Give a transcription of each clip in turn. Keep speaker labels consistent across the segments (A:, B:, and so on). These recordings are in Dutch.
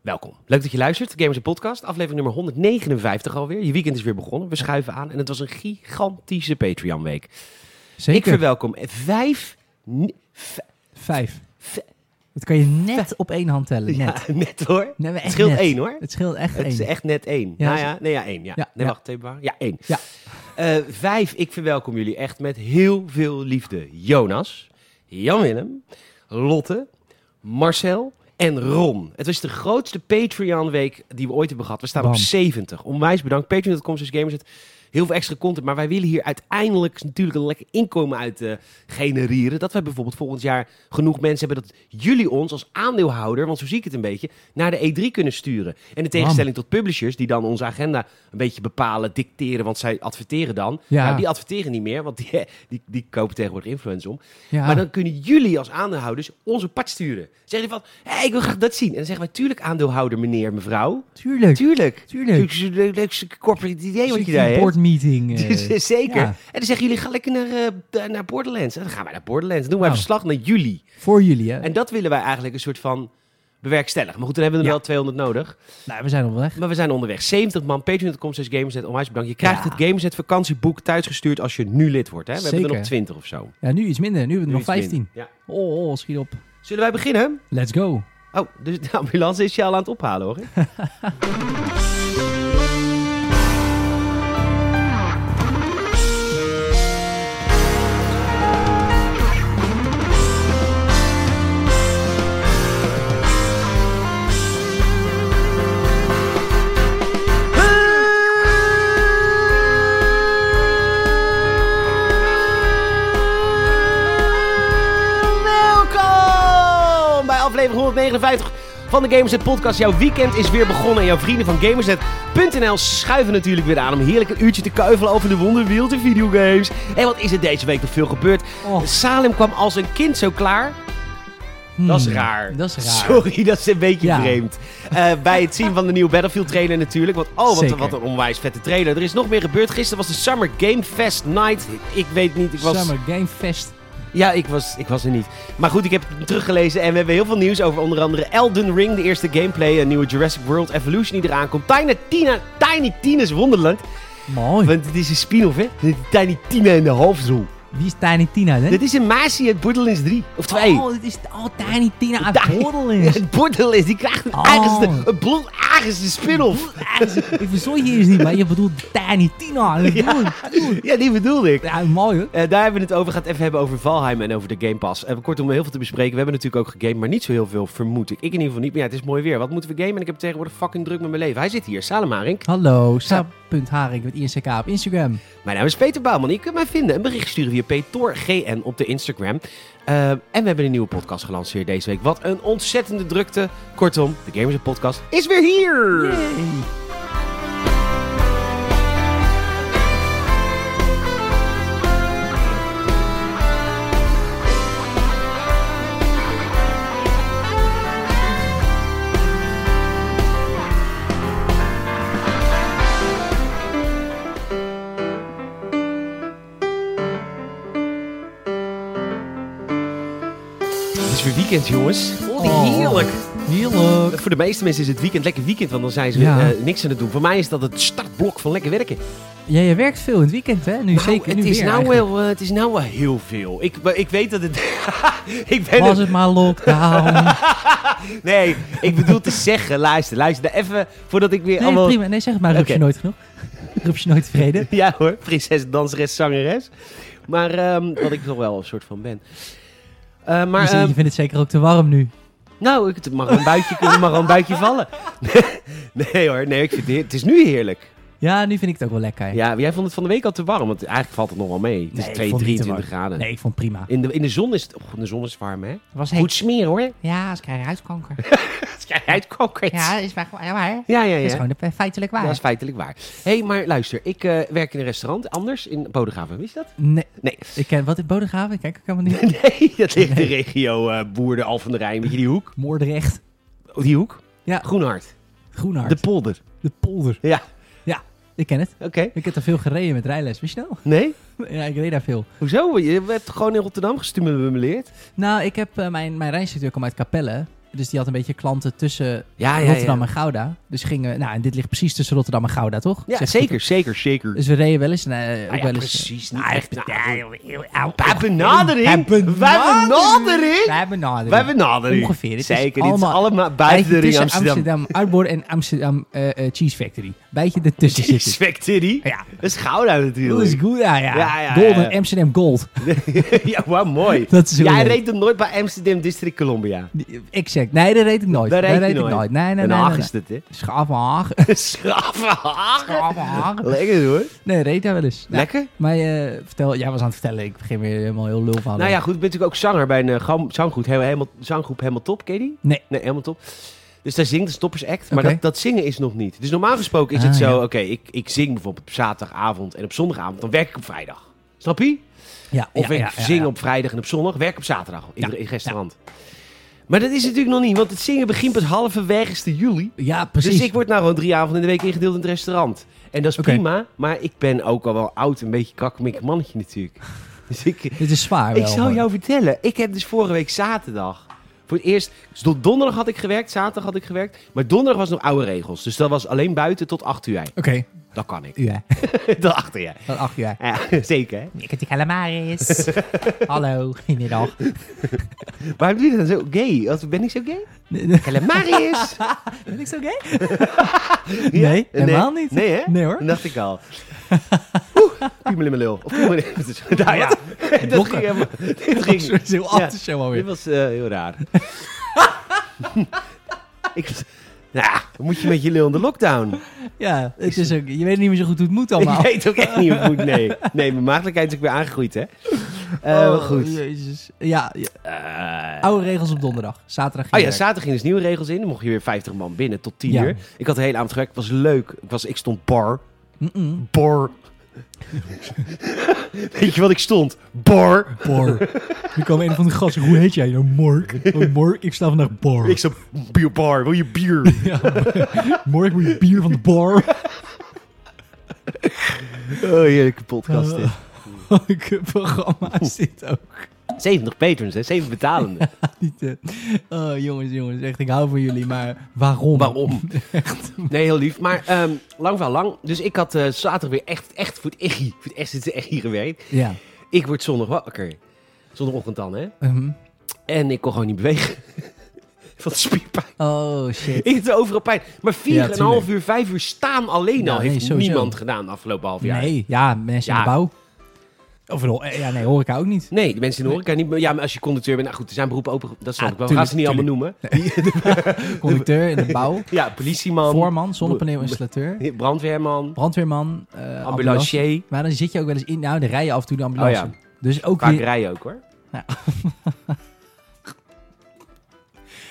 A: Welkom. Leuk dat je luistert. Gamers en Podcast, aflevering nummer 159 alweer. Je weekend is weer begonnen. We schuiven aan en het was een gigantische Patreon-week. Ik
B: Zeker.
A: verwelkom vijf. ni- v-
B: Vijf.
A: v-
B: Dat kan je net op één hand tellen. Net.
A: Ja, net hoor.
B: Nee, maar echt
A: Het scheelt
B: net.
A: één hoor.
B: Het scheelt echt
A: Het is
B: één.
A: echt net één.
B: Ja,
A: nou
B: zo-
A: ja, nee, ja, één. Ja.
B: Ja,
A: nee,
B: ja.
A: wacht, twee bar. Ja, één.
B: Ja.
A: Eh, vijf, ik verwelkom jullie echt met heel veel liefde. Jonas, Jan-Willem, Lotte, Marcel en Ron. Het was de grootste Patreon-week die we ooit hebben gehad. We staan op
B: Bam.
A: 70. Onwijs bedankt. Patreon.com slash gamers. Heel veel extra content, maar wij willen hier uiteindelijk natuurlijk een lekker inkomen uit eh, genereren. Dat wij bijvoorbeeld volgend jaar genoeg mensen hebben dat jullie ons als aandeelhouder, want zo zie ik het een beetje, naar de E3 kunnen sturen. En in tegenstelling tot publishers, die dan onze agenda een beetje bepalen, dicteren, want zij adverteren dan.
B: Ja.
A: Nou, die adverteren niet meer, want die, die, die kopen tegenwoordig influence om.
B: Ja.
A: Maar dan kunnen jullie als aandeelhouders onze pad sturen. Zeggen die van, hé, ik wil graag dat zien. En dan zeggen wij, tuurlijk aandeelhouder, meneer, mevrouw.
B: Tuurlijk.
A: Tuurlijk.
B: Tuurlijk.
A: Leuk- leuk- Leukste corporate idee wat je daar
B: Een
A: hebt.
B: board meeting. eh.
A: Zeker.
B: ja.
A: En dan zeggen jullie, ga lekker naar, eh, eh, naar Borderlands. En dan gaan wij naar Borderlands. Dan doen wij
B: Nou.
A: verslag naar jullie.
B: Voor jullie, hè?
A: En dat willen wij eigenlijk een soort van bewerkstelligen. Maar goed, dan hebben we er
B: Ja.
A: wel 200 nodig.
B: Nou, we zijn op weg.
A: Maar we zijn onderweg. 70 man, patreon.com, slash Gamersnet. Onwijs bedankt. Je krijgt
B: Ja.
A: het Gamersnet vakantieboek thuisgestuurd als je nu lid wordt. Hè? We hebben er
B: Zeker.
A: nog 20 of zo.
B: Ja, nu iets minder. Nu hebben we
A: Nu
B: er nog
A: is het
B: 15.
A: min. Ja.
B: Oh, oh, schiet op.
A: Zullen wij beginnen?
B: Let's go.
A: Oh, dus de ambulance is je al aan het ophalen hoor. Welkom bij aflevering 159 van de Gamersnet Podcast. Jouw weekend is weer begonnen en jouw vrienden van Gamersnet.nl schuiven natuurlijk weer aan om heerlijk een uurtje te kuivelen over de wonderwereld en videogames. En wat is er deze week nog veel gebeurd?
B: Oh.
A: Salem kwam als een kind zo klaar. Dat is
B: Hmm.
A: raar.
B: Dat is raar.
A: Sorry, dat is een beetje
B: Ja.
A: vreemd. Eh, bij het zien van de nieuwe Battlefield trailer natuurlijk. Want oh, wat,
B: Zeker.
A: wat een onwijs vette trailer. Er is nog meer gebeurd. Gisteren was de Summer Game Fest Night. Ik weet niet, ik was...
B: Summer Game Fest.
A: Ja, ik was, ik was er niet. Maar goed, ik heb het teruggelezen en we hebben heel veel nieuws over onder andere Elden Ring, de eerste gameplay, een nieuwe Jurassic World Evolution die eraan komt. Tiny Tina, Tiny Tina's Wonderland.
B: Mooi.
A: Want het is een spin-off, hè? Dit is Tiny Tina in de hoofdrol.
B: Wie is Tiny Tina, hè?
A: Dit is een Masi uit Borderlands 3. Of 2.
B: Oh, dit is oh, Tiny Tina uit
A: Tiny- Ja,
B: Borderlands.
A: het Borderlands, die krijgt een
B: Oh.
A: eigenste, een blond eigenste spin-off.
B: Ik verzon je eerst niet, maar je bedoelt Tiny Tina. Ja,
A: Ja, die bedoelde ik.
B: ja mooi, hoor.
A: Eh, daar hebben we het over. Gaat even hebben over Valheim en over de Game Pass. Eh, kortom, heel veel te bespreken. We hebben natuurlijk ook gegamed, maar niet zo heel veel, vermoed ik. Ik in ieder geval niet. Maar ja, het is mooi weer. Wat moeten we gamen? En ik heb tegenwoordig fucking druk met mijn leven. Hij zit hier, Salem Haring.
B: Hallo, Saap.haring met INCK op Instagram.
A: Mijn naam is Peter Bouwman. Je kunt mij vinden. Een bericht sturen via PetorGN op de Instagram. Eh, en we hebben een nieuwe podcast gelanceerd deze week. Wat een ontzettende drukte. Kortom, de Gamers Podcast is weer hier!
B: Yay.
A: Het is weer weekend, jongens. Oh, die
B: Oh.
A: heerlijk!
B: Heerlijk.
A: Voor de meeste mensen is het weekend lekker weekend, want dan zijn ze
B: Ja.
A: eh, niks aan het doen. Voor mij is dat het startblok van lekker werken.
B: Ja, je werkt veel in het weekend, hè? Nu
A: Nou,
B: zeker.
A: het,
B: nu
A: is
B: weer,
A: nou
B: eigenlijk.
A: wel, eh, het is nou wel heel veel. Ik, maar ik weet dat het. ik ben
B: Was
A: het-
B: het maar lockdown.
A: Nee, ik bedoel te zeggen, luister, luister. nou Even voordat ik weer
B: Nee,
A: allemaal.
B: prima. Nee, zeg het maar. Roep je
A: Oké.
B: nooit genoeg. Roep je nooit tevreden.
A: Ja hoor, prinses, danseres, zangeres. Maar ehm, wat ik nog wel een soort van ben. Eh, maar,
B: je, zit-
A: ehm,
B: je vindt het zeker ook te warm nu.
A: nou, ik- het mag wel een buitje, het mag wel een buitje vallen. nee hoor, nee, ik vind het, het is nu heerlijk.
B: Ja, nu vind ik het ook wel lekker.
A: Ja, maar jij vond het van de week al te warm, want eigenlijk valt het nog wel mee. Het is
B: Nee, ik
A: 2,
B: vond het niet te
A: 23 graden.
B: Nee, ik vond het prima. Het
A: In, de, in de zon is het, oh, in de zon is het warm hè.
B: was
A: Goed smeren hoor.
B: Ja, ze krijgen huidkanker.
A: Uit concreet.
B: is maar gewoon... Ja, maar.
A: Ja, ja, ja.
B: gewoon de, feitelijk
A: Dat is feitelijk waar. Hé, hey, maar luister, ik eh, werk in een restaurant, anders in Bodegraven. Wist je dat?
B: Nee.
A: Nee.
B: Ik ken... Wat, in Bodegraven? Kijk, ik helemaal niet.
A: Nee, dat ligt in de regio eh Boerden, Al van de Rijn. Weet je die hoek?
B: Moordrecht.
A: Oh, die hoek?
B: Ja.
A: Groenhart.
B: Groenhart.
A: De
B: De,
A: polder.
B: polder.
A: Ja,
B: Ik ken het.
A: oké.
B: Ik heb daar veel gereden met rijles. Wist je nou?
A: Nee?
B: Ja, ik reed daar veel.
A: Hoezo? Je hebt gewoon in Rotterdam gestimuleerd.
B: Nou, ik heb eh, mijn, mijn rijinstructeur komt uit Capelle. Dus die had een beetje klanten tussen
A: Ja, ja,
B: Rotterdam
A: ja.
B: en Gouda. Dus gingen we, nou, en dit ligt precies tussen Rotterdam en Gouda, toch?
A: Ja,
B: Zeg ik
A: zeker, zeker, zeker.
B: goed? Dus we reden wel eens. en, eh,
A: Nou
B: ook
A: ja,
B: wel eens
A: precies. Niet
B: nou,
A: echt.
B: echt,
A: nou,
B: nou,
A: Bij benadering. Bij
B: benadering.
A: benadering.
B: Wij benaderen.
A: Bij benadering.
B: Ongeveer, het is
A: Zeker niet.
B: allemaal-
A: Allemaal buiten de ring
B: tussen
A: Amsterdam.
B: Arbor en Amsterdam eh, eh, Cheese Factory. Bijtje ertussen zitten.
A: Spectiri.
B: Ja,
A: Dat is Gouda natuurlijk.
B: dat is goed. Ja, ja.
A: Ja, ja,
B: Golden
A: ja.
B: Amsterdam Gold.
A: ja, wauw, mooi.
B: Dat is heel
A: Jij
B: leuk.
A: reed hem nooit bij Amsterdam District Columbia.
B: Exact. Nee, dat reed ik nooit.
A: Daar
B: Dat
A: reed je
B: reed ik
A: nooit.
B: nooit. Nee, nee,
A: Den
B: nee.
A: Haag
B: nee,
A: is dit, hè?
B: nee. Schaafhaag.
A: Schavenhagen.
B: Schaafhaag.
A: Lekker hoor.
B: Nee, reed daar wel eens. Ja.
A: Lekker?
B: Maar eh, vertel, jij was aan het vertellen. Ik begin weer helemaal heel lul van.
A: Nou ja, goed, ik ben natuurlijk ook zanger bij een eh, gam- zanggroep, helemaal, helemaal, zanggroep helemaal top, ken je die?
B: Nee.
A: Nee, helemaal top. Dus daar zingt een stoppersact, maar
B: Oké.
A: dat, dat zingen is nog niet. Dus normaal gesproken is
B: Ah,
A: het zo,
B: ja.
A: oké, ik, ik zing bijvoorbeeld op zaterdagavond en op zondagavond, dan werk ik op vrijdag. Snap je?
B: Ja,
A: Of
B: ja,
A: ik
B: ja, ja,
A: zing
B: ja.
A: op vrijdag en op zondag, werk op zaterdag in,
B: Ja,
A: in het restaurant. Maar dat is natuurlijk nog niet, want het zingen begint pas halverwege juli.
B: Ja, precies.
A: Dus ik word nou gewoon drie avonden in de week ingedeeld in het restaurant. En dat is
B: Oké.
A: prima, maar ik ben ook al wel oud, een beetje kakmik mannetje natuurlijk. Dus ik,
B: Dit is zwaar wel.
A: ik zal
B: gewoon.
A: jou vertellen, ik heb dus vorige week zaterdag. Voor het eerst, dus tot donderdag had ik gewerkt, zaterdag had ik gewerkt. Maar donderdag was nog oude regels. Dus dat was alleen buiten tot 8 uur.
B: Oké.
A: Dat kan ik.
B: Ja,
A: tot 8 uur.
B: dat acht jaar.
A: Ja, zeker. hè?
B: Ik heb die calamaris. Hallo, goedemiddag.
A: Waarom doe je dat dan zo gay? Als- Ben ik zo gay? Calamarius!
B: Ben ik zo gay? Nee, helemaal niet.
A: Nee, hè?
B: Nee, hoor.
A: Dat dacht ik al. Oeh, piemel in mijn lul. Of piemel in Nou ja, dat ging helemaal... Dit
B: Dat
A: ging...
B: is heel
A: Ja.
B: af te show
A: Dit
B: alweer.
A: was eh, heel raar. ik... was- Nou, moet je met je lul in de lockdown?
B: Ja, het is ook, je weet niet meer zo goed hoe het moet allemaal.
A: Ik weet ook echt niet hoe het moet, nee. Nee, mijn maagdelijkheid is ook weer aangegroeid, hè. Eh, maar
B: Oh,
A: goed.
B: Jezus. Ja, ja,
A: Eh,
B: oude regels op donderdag. Zaterdag.
A: Oh ja,
B: ging werk.
A: zaterdag gingen dus nieuwe regels in. Dan mocht je weer 50 man binnen tot 10
B: Ja.
A: uur. Ik had de hele avond gewerkt. Het was leuk. Ik, was, ik stond bar.
B: Mm-mm.
A: Bor. Weet je wat ik stond? Bor.
B: Bor. Er kwam een van de gasten. Hoe heet jij nou? Mork. Oh, Mork, ik sta vandaag bar.
A: Ik stond bier, bar. Wil je bier?
B: Ja, Mork moet je bier van de bar.
A: Oh, heerlijke podcast dit.
B: Ik programma's dit ook.
A: 70 patrons, hè? 7 betalende.
B: Niet, eh, oh, jongens, jongens. Echt, ik hou van jullie, maar waarom?
A: Waarom? Nee, heel lief. Maar ehm, lang van lang. Dus ik had eh, zaterdag weer echt, echt voor het echi, voor het echt, het echi gewerkt.
B: Ja.
A: Ik word zondag wakker. Zondagochtend dan, hè?
B: Mhm.
A: En ik kon gewoon niet bewegen. Van de spierpijn.
B: Oh, shit.
A: Ik had overal pijn. Maar vier
B: Ja,
A: en een
B: tuurlijk.
A: half uur, vijf uur staan alleen
B: Ja,
A: al
B: nee,
A: heeft
B: sowieso.
A: niemand gedaan de afgelopen half jaar.
B: Nee, ja, mensen
A: Ja.
B: in de bouw. Overal, eh, ja, nee, hoor ik ook niet.
A: Nee, de mensen in de horeca niet. maar Ja, maar als je conducteur bent... Nou goed, er zijn beroepen open... Dat snap
B: Ah,
A: ik wel. We gaan ze niet
B: tuurlijk,
A: allemaal noemen.
B: Conducteur in de bouw,
A: Ja, politieman.
B: voorman, zonnepaneel-installateur,
A: Brandweerman.
B: brandweerman, eh ambulance.
A: Ambulancier.
B: Maar dan zit je ook wel eens in, nou, de rijen af en toe de ambulance.
A: Oh,
B: Dus ook
A: Vaak
B: weer,
A: rij ook, hoor.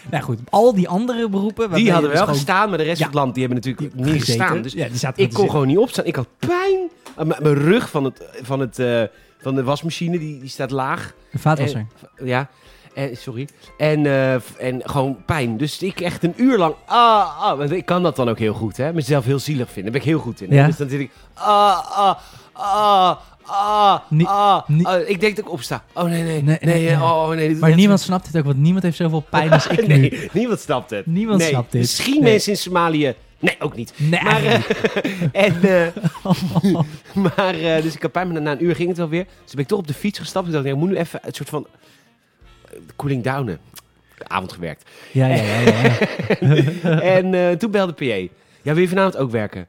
B: nou goed, al die andere beroepen.
A: Die
B: waarmee
A: hadden
B: je
A: wel
B: dus gewoon
A: gestaan, maar de rest
B: Ja.
A: van het land... die hebben natuurlijk niet
B: gezeten.
A: gestaan. Dus
B: ja, die zaten
A: ik
B: wel
A: kon
B: te
A: gewoon niet opstaan. Ik had pijn. aan Mijn mijn rug van, het, van, het, eh, van de wasmachine, die, die staat laag.
B: zitten. Een vaatwasser.
A: Ja, eh, sorry. En, eh, f- en gewoon pijn. Dus ik echt een uur lang. Ah, ah, want ik kan dat dan ook heel goed, hè? Mezelf heel zielig vinden. Daar ben ik heel goed in. hè.
B: Ja.
A: Dus dan zit ik. Ah, ah, ah, ah.
B: Nie-
A: ah,
B: nie-
A: ah. ik denk dat ik opsta. Oh nee, nee. Nee,
B: Nee, nee,
A: eh,
B: nee.
A: Oh, nee dit-
B: Maar
A: dat-
B: niemand snapt dit ook, want niemand heeft zoveel pijn als ik nu.
A: Nee, niemand snapt het.
B: Niemand
A: Nee,
B: snapt dit.
A: Misschien
B: Nee.
A: mensen in Somalië. Nee, ook niet. Maar,
B: Nee, eigenlijk
A: eh, en, eh, maar eh, dus ik had pijn, maar na een uur ging het wel weer. Dus ben ik toch op de fiets gestapt. Ik dacht, nee, ik moet nu even het soort van eh, cooling downen. Avond gewerkt.
B: niet. Ja, ja, ja. ja, ja.
A: en eh, toen belde PA. Ja, wil je vanavond ook werken?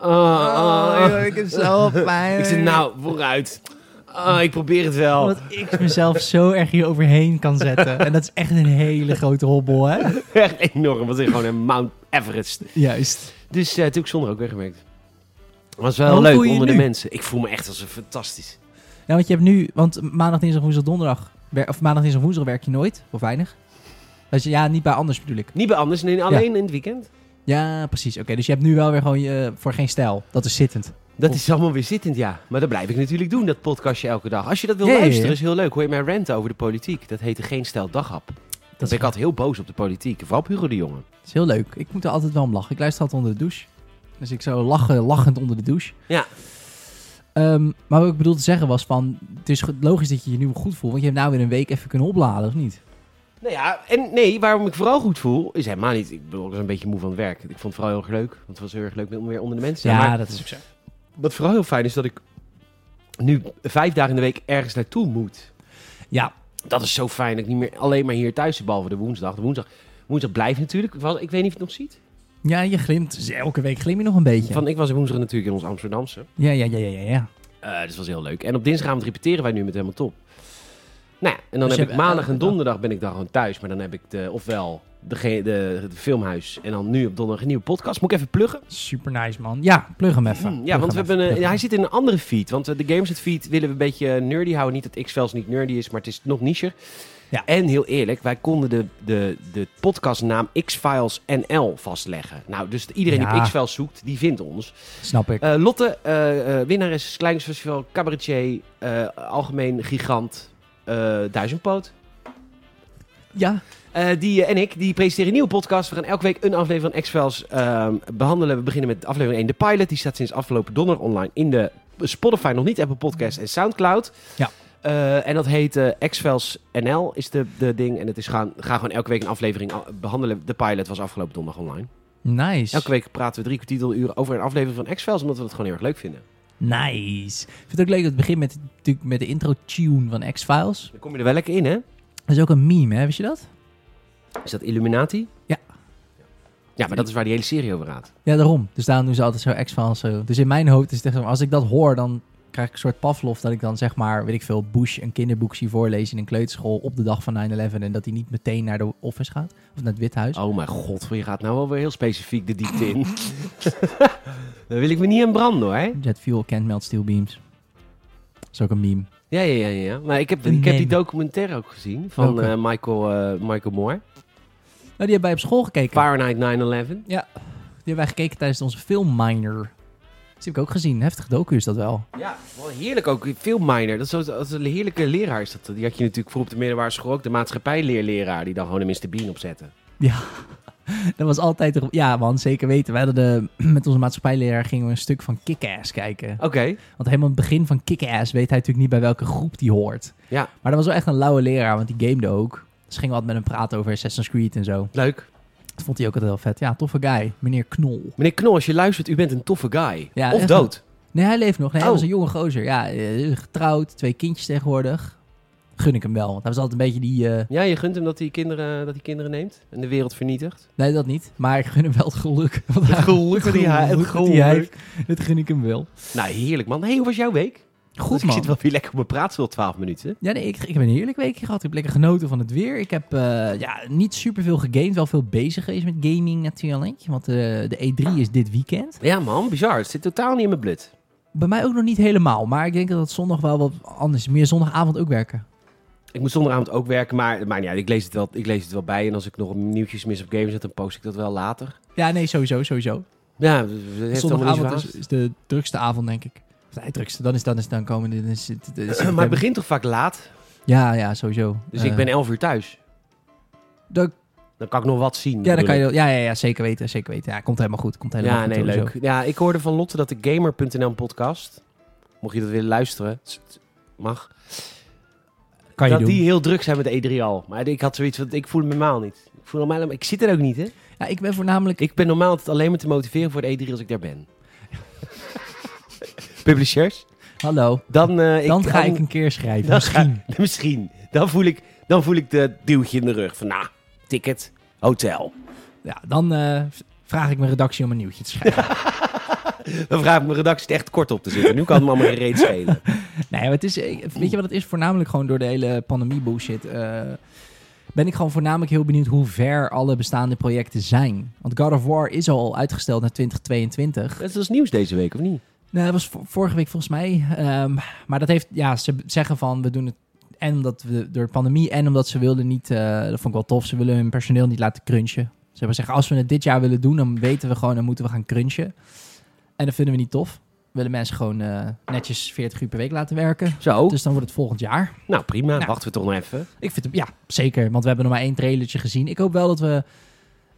A: Ah, ah.
B: Oh, ik heb zo pijn.
A: Ik zei, nou, vooruit. Ah, ik probeer het wel.
B: Dat ik mezelf zo erg hier overheen kan zetten. En dat is echt een hele grote hobbel, hè?
A: Echt enorm. Was gewoon een Mount Everest.
B: Juist.
A: Dus eh, toen heb ik zondag ook weggewerkt. Was wel
B: Hoe
A: leuk
B: voel je je
A: onder de
B: nu?
A: mensen. Ik voel me echt als een fantastisch.
B: Nou, want je hebt nu... Want maandag, dinsdag, woensdag, donderdag... wer- Of maandag, dinsdag, woensdag werk je nooit. Of weinig. Dus ja, niet bij anders bedoel ik.
A: Niet bij anders, nee, alleen in het weekend.
B: Ja, precies. Oké, dus je hebt nu wel weer gewoon je, voor geen stijl. Dat is zittend.
A: Dat
B: Of-
A: is allemaal weer zittend, ja. Maar dat blijf ik natuurlijk doen, dat podcastje elke dag. Als je dat wil
B: Ja, ja, ja.
A: luisteren, is heel leuk. Hoor je mij ranten over de politiek. Dat heette Geen Stel Daghap. Dat
B: is
A: ben ik altijd heel boos op de politiek. Vooral op Hugo de Jonge.
B: Dat is heel leuk. Ik moet er altijd wel om lachen. Ik luister altijd onder de douche. Dus ik zou lachen, lachend onder de douche.
A: Ja.
B: Ehm, maar wat ik bedoel te zeggen was van... Het is goed- logisch dat je je nu goed voelt. Want je hebt nou weer een week even kunnen opladen, of niet?
A: Nou ja, en nee, waarom ik vooral goed voel, is helemaal niet. Ik bedoel, ik was een beetje moe van het werk. Ik vond het vooral heel erg leuk. Want het was heel erg leuk om weer onder de mensen te
B: Ja,
A: zijn. Maar
B: dat is ook zo.
A: wat vooral heel fijn is dat ik nu vijf dagen in de week ergens naartoe moet.
B: Ja,
A: Dat is zo fijn. Dat ik niet meer alleen maar hier thuis zit, behalve de woensdag. De woensdag, woensdag blijft natuurlijk. Ik, was- ik weet niet of je het nog ziet.
B: ja je glimt. Dus elke week glim je nog een beetje.
A: Van, ik was woensdag natuurlijk in ons Amsterdamse.
B: Ja, ja, ja, ja, ja. ja.
A: Eh, dus dat was heel leuk. En op dinsdagavond repeteren wij nu met helemaal top. Nou, ja, en dan
B: Dus je
A: heb ik
B: hebt
A: maandag
B: elke
A: en
B: dag-
A: donderdag ben ik dan gewoon thuis. Maar dan heb ik de, ofwel de, ge- de, het filmhuis en dan nu op donderdag een nieuwe podcast. Moet ik even pluggen?
B: Super nice, man. Ja, plug hem even.
A: Hm, Ja,
B: Plug
A: want we
B: hem
A: hebben
B: even,
A: een-
B: plug
A: hij
B: hem.
A: zit in een andere feed. Want eh, de Gameset feed willen we een beetje nerdy houden. Niet dat X-Files niet nerdy is, maar het is nog nicher.
B: Ja.
A: En heel eerlijk, wij konden de, de, de podcastnaam X-Files NL vastleggen. Nou, dus iedereen die
B: Ja.
A: op X-Files zoekt, die vindt ons.
B: Snap ik.
A: Eh, Lotte, eh, eh, winnares, Kleinkunstfestival, cabaretier, eh, algemeen gigant, eh, duizendpoot.
B: ja,
A: Eh, die eh, en ik, die presenteren een nieuwe podcast. We gaan elke week een aflevering van X-Files ehm, behandelen. We beginnen met aflevering 1, de pilot. Die staat sinds afgelopen donderdag online in de Spotify, nog niet Apple Podcast en Soundcloud.
B: Ja.
A: Eh, en dat heet eh X-Files NL is de, de ding. En het is gaan, gaan gewoon elke week een aflevering a- behandelen. De pilot was afgelopen donderdag online.
B: nice.
A: Elke week praten we drie kwartieruren over een aflevering van X-Files, omdat we dat gewoon heel erg leuk vinden.
B: Nice. Ik vind het ook leuk dat het begint met, natuurlijk met de intro-tune van X-Files.
A: Dan kom je er wel lekker in, hè?
B: Dat is ook een meme, hè? Wist je dat?
A: Is dat Illuminati?
B: Ja.
A: Ja, maar dat is waar die hele serie over gaat.
B: Ja, daarom. Dus daarom doen ze altijd zo X-Files zo. Dus in mijn hoofd is het echt zo, als ik dat hoor, dan krijg ik een soort Pavlov dat ik dan zeg maar, weet ik veel, Bush een kinderboek zie voorlezen in een kleuterschool op de dag van 9-11 en dat hij niet meteen naar de office gaat, of naar het Withuis.
A: Oh mijn god, je gaat nou wel weer heel specifiek de diepte in. Daar wil ik me niet aan branden hoor.
B: Jet fuel can't melt steel beams. Dat is ook een meme. Oh,
A: Ja, ja, ja. ja. Maar ik heb,
B: Een
A: ik heb die
B: meme.
A: documentaire ook gezien van
B: Welke?
A: eh, Michael, eh, Michael Moore.
B: Nou, die hebben wij op school gekeken.
A: Fahrenheit 9-11.
B: Die hebben wij gekeken tijdens onze filmminer. Dat heb ik ook gezien. Heftig docu is dat wel.
A: Ja, wel heerlijk ook. Veel minor. Dat is, zo- dat is een heerlijke leraar. Is dat. Die had je natuurlijk voor op de middelbare school ook. De maatschappijleerleraar die dan gewoon een Mr. Bean opzette.
B: Dat was altijd... een- Ja man, zeker weten. Wij hadden de, met onze maatschappijleraar gingen we een stuk van Kick-Ass kijken.
A: Oké.
B: Want helemaal aan het begin van Kick-Ass weet hij natuurlijk niet bij welke groep die hoort.
A: Ja.
B: Maar dat was wel echt een lauwe leraar, want die gamede ook. Dus gingen we altijd met hem praten over Assassin's Creed en zo.
A: Leuk.
B: Dat vond hij ook altijd heel vet. Ja, toffe guy. Meneer Knol.
A: Meneer Knol, als je luistert, u bent een toffe guy.
B: Ja,
A: of
B: echt
A: dood.
B: Nee, hij leeft nog. Nee, hij
A: Oh.
B: was een jonge gozer. Ja, eh, getrouwd, twee kindjes tegenwoordig. Gun ik hem wel, want hij was altijd een beetje die... eh,
A: Ja, je gunt hem dat hij kinderen, dat hij kinderen neemt en de wereld vernietigt.
B: nee, dat niet. Maar ik gun hem wel het geluk. Want hij-
A: geluk dat hij- het
B: dat hij
A: geluk.
B: heeft, Dat gun ik hem wel.
A: Nou, heerlijk man. Hey, hoe was jouw week?
B: Goed
A: Ik
B: man.
A: zit wel weer lekker op mijn praatsel 12 minuten.
B: Ja, nee, ik, ik heb een heerlijk weekje gehad. Ik heb lekker genoten van het weer. Ik heb eh, ja, niet superveel gegamed, wel veel bezig geweest met gaming natuurlijk. Want eh, de
A: Ah.
B: E3 is dit weekend.
A: Ja man, bizar. Het zit totaal niet in mijn blut.
B: Bij mij ook nog niet helemaal, maar ik denk dat het zondag wel wat anders is. Meer zondagavond ook werken.
A: Ik moet zondagavond ook werken, maar, maar ja, ik, lees het wel, ik lees het wel bij. En als ik nog nieuwtjes mis op games zet, dan post ik dat wel later.
B: Ja, nee, sowieso, sowieso.
A: Ja, het heeft allemaal niet zo
B: Zondagavond is,
A: haast.
B: is de drukste avond, denk ik. Of de drukste, dan is dan is dan komende. Dan is, het- dan is het-
A: Maar het begint toch vaak laat?
B: Ja, ja, sowieso.
A: Dus
B: Eh,
A: ik ben 11 uur thuis.
B: dan-
A: Dan kan ik nog wat zien.
B: ja, dan
A: bedoel
B: kan
A: ik.
B: je, ja, ja, ja, zeker weten, zeker weten. Ja, komt helemaal goed, komt helemaal
A: Ja,
B: goed.
A: nee,
B: sowieso.
A: leuk. Ja, ik hoorde van Lotte dat de Gamer.nl podcast, mocht je dat willen luisteren, het- het mag.
B: Kan je
A: dat
B: doen.
A: die heel druk zijn met de E3 al. Maar ik had zoiets van, ik voel me normaal niet. Ik, voel normaal, ik zit er ook niet, hè?
B: Ja, ik ben voornamelijk
A: Ik ben normaal altijd alleen maar te motiveren voor de E3 als ik daar ben. Publishers?
B: Hallo.
A: Dan, eh,
B: Dan ga
A: dan-
B: ik een keer schrijven.
A: dan ga-
B: misschien.
A: misschien. Dan voel, ik, dan voel ik de duwtje in de rug. Van, nou, ticket, hotel.
B: Ja, dan eh, v- vraag ik mijn redactie om een nieuwtje te schrijven.
A: Dan vraag ik mijn redactie het echt kort op te zitten. Nu kan het me allemaal geen reet schelen.
B: Nee, maar het is, eh, weet je wat het is? Voornamelijk gewoon door de hele pandemie bullshit. eh, ben ik gewoon voornamelijk heel benieuwd hoe ver alle bestaande projecten zijn. Want God of War is al uitgesteld naar 2022.
A: Dat is nieuws deze week, of niet?
B: Nou, dat was vo- vorige week volgens mij. Ehm, maar dat heeft, ja, ze b- zeggen van we doen het. En omdat we door de pandemie en omdat ze wilden niet, eh, dat vond ik wel tof, ze willen hun personeel niet laten crunchen. Ze hebben zeggen, als we het dit jaar willen doen, dan weten we gewoon, dan moeten we gaan crunchen. En dat vinden we niet tof. We willen mensen gewoon eh, netjes 40 uur per week laten werken.
A: Zo.
B: Dus dan wordt het volgend jaar.
A: nou, prima.
B: Nou.
A: Wachten we toch nog even.
B: Ik vind hem, ja, zeker. Want we hebben nog maar één trailertje gezien. Ik hoop wel dat we.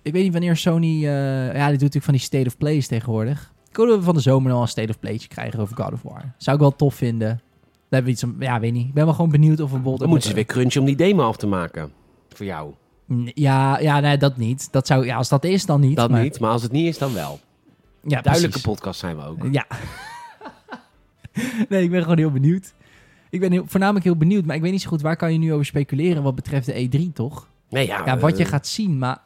B: Ik weet niet wanneer Sony. eh, ja, die doet natuurlijk van die State of Plays tegenwoordig. Ik hoop dat we van de zomer nog een State of Playtje krijgen over God of War. Zou ik wel tof vinden. Daar hebben we iets om. Ja, weet niet. Ik ben wel gewoon benieuwd of we bijvoorbeeld.
A: Dan
B: ook
A: moeten ze
B: met-
A: weer crunchen om die demo af te maken. voor jou.
B: N- Ja, ja nee, dat niet. Dat zou, ja, als dat is, dan niet.
A: Dat
B: maar-
A: niet, maar als het niet is, dan wel.
B: Ja,
A: Duidelijke
B: precies.
A: podcast zijn we ook.
B: Ja. nee, ik ben gewoon heel benieuwd. Ik ben heel, voornamelijk heel benieuwd, maar ik weet niet zo goed waar kan je nu over speculeren wat betreft de E3, toch?
A: Nee, ja,
B: ja, wat
A: eh,
B: je gaat zien, maar...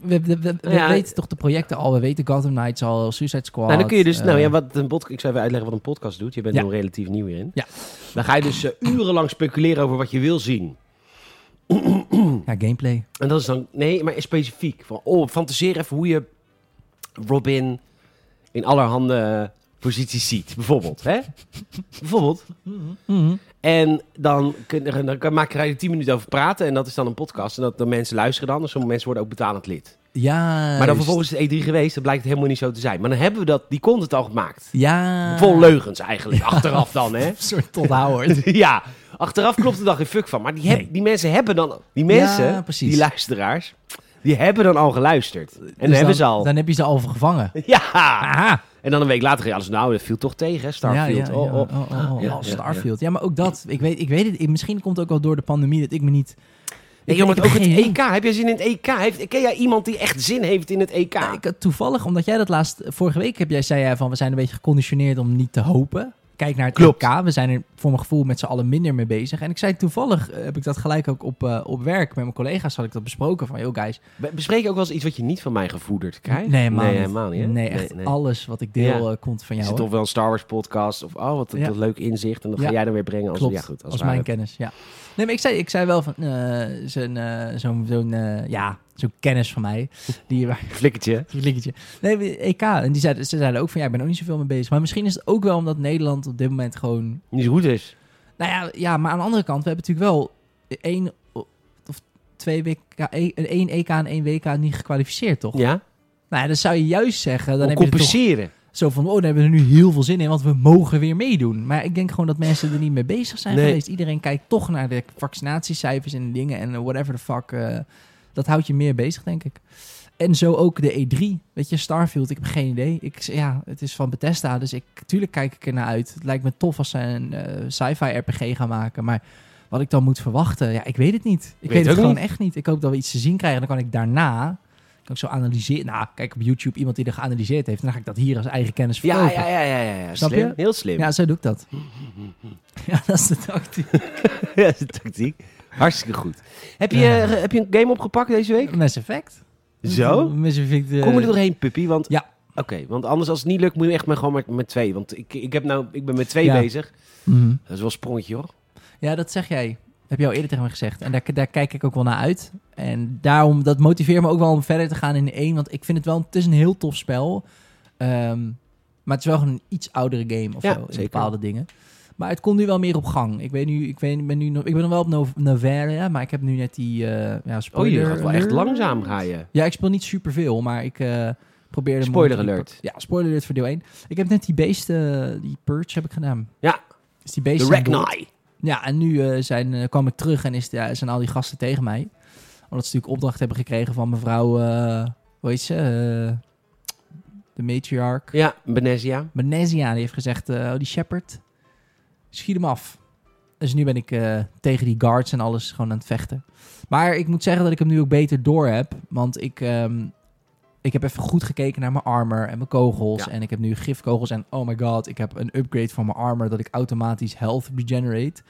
B: We, we- we- we
A: Ja.
B: weten toch de projecten al, we weten Gotham Knights al, Suicide Squad.
A: Nou, dan kun je dus.
B: eh,
A: nou ja, wat een podcast. Ik zou even uitleggen wat een podcast doet. Je bent
B: Ja.
A: nog relatief nieuw hierin.
B: Ja.
A: Dan ga je dus eh, urenlang speculeren over wat je wil zien.
B: Ja, gameplay.
A: En dat is dan. Nee, maar specifiek. Van, oh, fantaseer even hoe je Robin in allerhande eh, posities ziet. Bijvoorbeeld. Hè? bijvoorbeeld. En dan, kun, dan kan- maak je er 10 minuten over praten. En dat is dan een podcast. En dat de mensen luisteren dan. En sommige mensen worden ook betalend lid.
B: Ja.
A: Maar dan vervolgens is het E3 geweest. Dan blijkt het helemaal niet zo te zijn. Maar dan hebben we dat, die content al gemaakt.
B: Ja.
A: Vol leugens eigenlijk. Achteraf dan, hè?
B: Een soort Todd Howard.
A: ja, achteraf klopt er dan geen fuck van. Maar die, heb-
B: Nee.
A: die mensen hebben dan... Die mensen,
B: Ja, precies.
A: die luisteraars, die hebben dan al geluisterd. En dan
B: Dus
A: hebben ze al...
B: Dan heb je ze al vervangen.
A: Ja!
B: Aha.
A: En dan een week later ga je alles... Nou, dat viel toch tegen, hè? Starfield.
B: Ja, ja,
A: Oh,
B: ja.
A: oh.
B: Oh, oh, oh.
A: Ja, ja,
B: Starfield. Ja, maar ook dat. Ik weet, ik weet het. ik- Misschien komt het ook wel door de pandemie dat ik me niet...
A: Nee, joh, maar
B: ik-
A: ook
B: ik-
A: het
B: geen-
A: EK. Heb jij zin in het EK? Heeft, ken jij iemand die echt zin heeft in het E EK?
B: Ja, ik, toevallig, omdat jij dat laatst... Vorige week heb jij, zei jij van... We zijn een beetje geconditioneerd om niet te hopen. Kijk naar het
A: Klopt.
B: EK. We zijn er voor mijn gevoel met z'n allen minder mee bezig. En ik zei toevallig... eh, Heb ik dat gelijk ook op, eh, op werk met mijn collega's had ik dat besproken. Van, yo guys...
A: We bespreken ook wel eens iets wat je niet van mij gevoederd krijgt.
B: Nee, helemaal niet.
A: helemaal niet. hè?
B: Nee, echt
A: nee.
B: alles wat ik deel
A: Ja.
B: eh, komt van
A: Er
B: jou.
A: zit
B: hoor.
A: toch wel een Star Wars podcast of oh, wat een
B: Ja.
A: wat leuk inzicht. En dat
B: Ja.
A: ga jij dan weer brengen als,
B: Klopt,
A: ja, goed,
B: als,
A: het
B: mijn
A: ware.
B: kennis, ja. Nee, maar ik zei, ik zei wel van eh, zo'n eh, zo'n zo'n, eh, ja, zo'n kennis van mij. Die,
A: Flikkertje.
B: Linkertje. Nee, EK. En die zeiden, ze zeiden ook van, ja, ik ben ook niet zoveel mee bezig. Maar misschien is het ook wel omdat Nederland op dit moment gewoon...
A: Niet zo goed is.
B: Nou ja, ja maar aan de andere kant, we hebben natuurlijk wel één of twee WK, één- één EK en één WK niet gekwalificeerd, toch?
A: Ja,
B: Nou ja, dan zou je juist zeggen, dan
A: Om
B: heb je er toch
A: compenseren.
B: zo van, oh, daar hebben we er nu heel veel zin in, want we mogen weer meedoen. Maar ik denk gewoon dat mensen er niet mee bezig zijn
A: Nee.
B: geweest. Iedereen kijkt toch naar de vaccinatiecijfers en dingen en eh, whatever the fuck. eh, dat houdt je meer bezig, denk ik. En zo ook de E3. Weet je, Starfield, ik heb geen idee. Ik, ja, het is van Bethesda, dus ik, tuurlijk kijk ik er naar uit. Het lijkt me tof als ze een eh, sci-fi RPG gaan maken, maar... Wat ik dan moet verwachten, ja, ik weet het niet. Ik weet,
A: Weet het
B: het
A: ook
B: gewoon echt niet. Ik hoop dat we iets te zien krijgen. Dan kan ik daarna kan ik zo analyseren. Nou, kijk op YouTube iemand die er geanalyseerd heeft. Dan ga ik dat hier als eigen kennis
A: Ja,
B: verkopen.
A: ja, ja, ja, ja. ja.
B: Snap
A: slim.
B: je?
A: Heel slim. Ja,
B: Ja, zo doe ik dat. Ja, dat is de tactiek.
A: dat is de tactiek. Hartstikke goed. Heb je,
B: Ja. Eh,
A: eh, heb je een game opgepakt deze week?
B: Mass Effect.
A: Zo?
B: Mass Effect. eh,
A: Oh. Kom er doorheen, puppy. Want,
B: Ja.
A: Oké, want anders als het niet lukt, moet je echt maar gewoon met, met twee. Want ik, ik, heb nou, ik ben met twee
B: Ja.
A: bezig.
B: Mhm.
A: Dat is wel een sprongetje, hoor. Oh,
B: Ja, dat zeg jij. Heb je al eerder tegen me gezegd. En daar, daar kijk ik ook wel naar uit. En daarom, dat motiveert me ook wel om verder te gaan in één. Want ik vind het wel, het is een heel tof spel. Ehm, maar het is wel gewoon een iets oudere game of
A: Ja,
B: zo. In
A: zeker.
B: bepaalde dingen. Maar het komt nu wel meer op gang. Ik weet nu, ik weet, ik ben nu nog, ik ben nog wel op Nov- Novera, maar ik heb nu net die, eh ja,
A: Oh,
B: spoiler
A: je gaat wel echt
B: alert.
A: langzaam ga je.
B: Ja, ik speel niet superveel, maar ik eh probeerde... me-
A: Spoiler alert.
B: Ja, spoiler alert voor deel 1. Ik heb net die beesten, die purge heb ik gedaan.
A: Ja.
B: Dus die beesten
A: De
B: zijn dood.
A: Ragnai.
B: Ja, en nu eh, zijn, eh, kwam ik terug en is, ja, zijn al die gasten tegen mij. Omdat ze natuurlijk opdracht hebben gekregen van mevrouw... eh hoe heet ze? Eh, de matriarch.
A: Ja, Benezia.
B: Benezia, die heeft gezegd... eh, oh, die shepherd. Schiet hem af. Dus nu ben ik eh, tegen die guards en alles gewoon aan het vechten. Maar ik moet zeggen dat ik hem nu ook beter door heb. Want ik, ehm, ik heb even goed gekeken naar mijn armor en mijn kogels.
A: Ja.
B: En ik heb nu gifkogels. En oh my god, ik heb een upgrade van mijn armor. Dat ik automatisch health regenerate.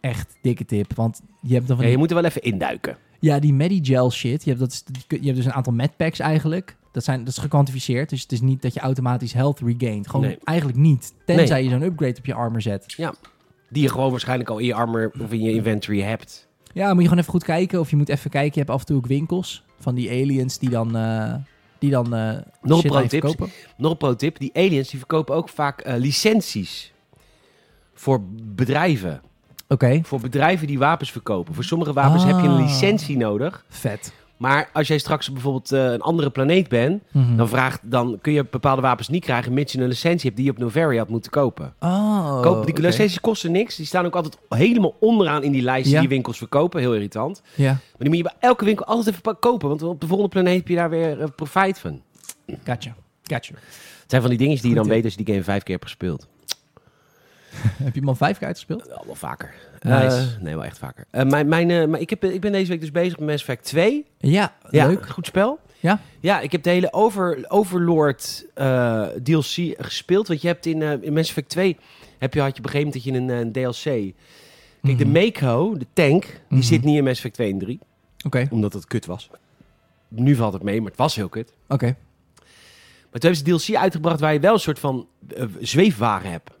B: Echt dikke tip. Want je hebt dan
A: Ja,
B: van die
A: je moet er wel even induiken.
B: ja, die Medigel shit. Je hebt, dat, is- je hebt dus een aantal medpacks eigenlijk. Dat, zijn, dat is gekwantificeerd. Dus het is niet dat je automatisch health regaint. Gewoon
A: Nee.
B: eigenlijk niet. Tenzij je zo'n upgrade op je armor zet.
A: Die je gewoon waarschijnlijk al in je armor of in je inventory hebt.
B: Ja, moet je gewoon even goed kijken. Of je moet even kijken. Je hebt af en toe ook winkels van die aliens die dan... eh, die dan eh,
A: Nog
B: shit
A: pro
B: aan je
A: tips.
B: verkopen.
A: Nog een pro-tip. Die aliens die verkopen ook vaak eh, licenties voor bedrijven.
B: Oké,
A: Voor bedrijven die wapens verkopen. Voor sommige wapens heb je een
B: Ah.
A: licentie nodig.
B: vet.
A: Maar als jij straks bijvoorbeeld eh, een andere planeet bent,
B: Mhm.
A: dan, vraagt, dan kun je bepaalde wapens niet krijgen, mits je een licentie hebt die je op Novaria had moeten kopen.
B: Oh,
A: Koop, die
B: oké.
A: licenties kosten niks. Die staan ook altijd helemaal onderaan in die lijst
B: Ja.
A: die die winkels verkopen. Heel irritant.
B: Ja,
A: Maar die moet je bij elke winkel altijd even pa- kopen, want op de volgende planeet heb je daar weer eh, profijt van.
B: gotcha. Gotcha.
A: Het zijn van die dingetjes die je
B: Goed
A: dan
B: tip.
A: weet als je die game vijf keer hebt gespeeld.
B: Heb je hem al vijf keer uitgespeeld?
A: Wel, wel vaker.
B: Nice.
A: Eh, nee, wel echt vaker. Eh, mijn, mijn, eh, maar ik, heb, ik ben deze week dus bezig met Mass Effect 2.
B: Ja,
A: Ja,
B: leuk.
A: Goed spel.
B: Ja?
A: Ja, ik heb de hele over, Overlord eh, DLC gespeeld. Want je hebt in, eh, in Mass Effect 2 heb je, had je op een gegeven moment dat je een, eh, een DLC... Kijk,
B: Mhm.
A: de Mako, de tank, die
B: Mhm.
A: zit niet in Mass Effect 2 en 3.
B: Oké, oké.
A: Omdat het kut was. Nu valt het mee, maar het was heel kut. Maar toen hebben ze DLC uitgebracht waar je wel een soort van eh, zweefwaren hebt.
B: Oh,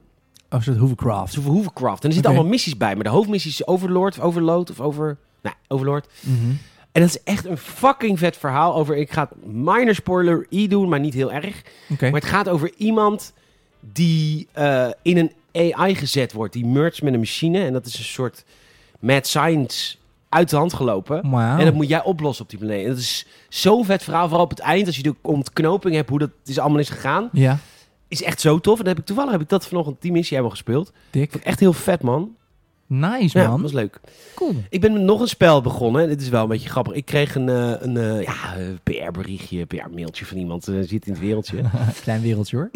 B: een soort hovercraft.
A: Zo voor Hovercraft. En er zitten
B: Oké.
A: allemaal missies bij. Maar de hoofdmissie is Overlord of Overload of over... Nou, Overlord.
B: Mhm.
A: En dat is echt een fucking vet verhaal over... Ik ga het minor spoiler I doen, maar niet heel erg.
B: Oké.
A: Maar het gaat over iemand die eh, in een AI gezet wordt. Die mergt met een machine. En dat is een soort mad science uit de hand gelopen.
B: Wauw.
A: En dat moet jij oplossen op die planeet. En dat is zo'n vet verhaal. Vooral op het eind, als je de ontknoping hebt, hoe dat is allemaal is gegaan.
B: Ja,
A: Is echt zo tof. En dan heb ik, toevallig heb ik dat vanochtend die missie hebben we gespeeld.
B: dik.
A: Echt heel vet, man.
B: Nice,
A: Ja,
B: man.
A: was leuk.
B: Cool.
A: Ik ben met nog een spel begonnen. En dit is wel een beetje grappig. Ik kreeg een, eh, een eh, ja, eh, PR-berichtje, PR-mailtje van iemand. eh, zit in het wereldje.
B: Klein wereldje, hoor.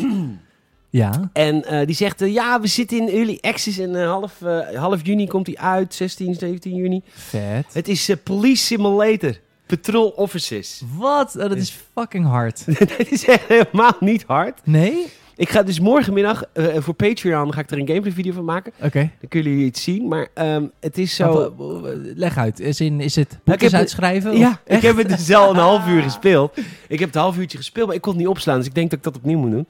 B: ja.
A: En eh, die zegt, eh, ja, we zitten in early access en eh, half, eh, half juni komt die uit, 16, 17 juni.
B: Vet.
A: Het is eh, Police Simulator, Patrol Officers.
B: Wat? Oh, dat is fucking hard.
A: Het is echt helemaal niet hard.
B: Nee?
A: Ik ga dus morgenmiddag eh, voor Patreon, ga ik er een gameplay video van maken.
B: Oké.
A: Dan kunnen jullie het zien, maar ehm, het is zo...
B: Zo. Leg uit. Is, in, is het boekjes
A: heb-
B: uitschrijven?
A: ja,
B: Of-
A: ik heb het dus al een half uur gespeeld. Ik heb het half uurtje gespeeld, maar ik kon het niet opslaan. Dus ik denk dat ik dat opnieuw moet doen.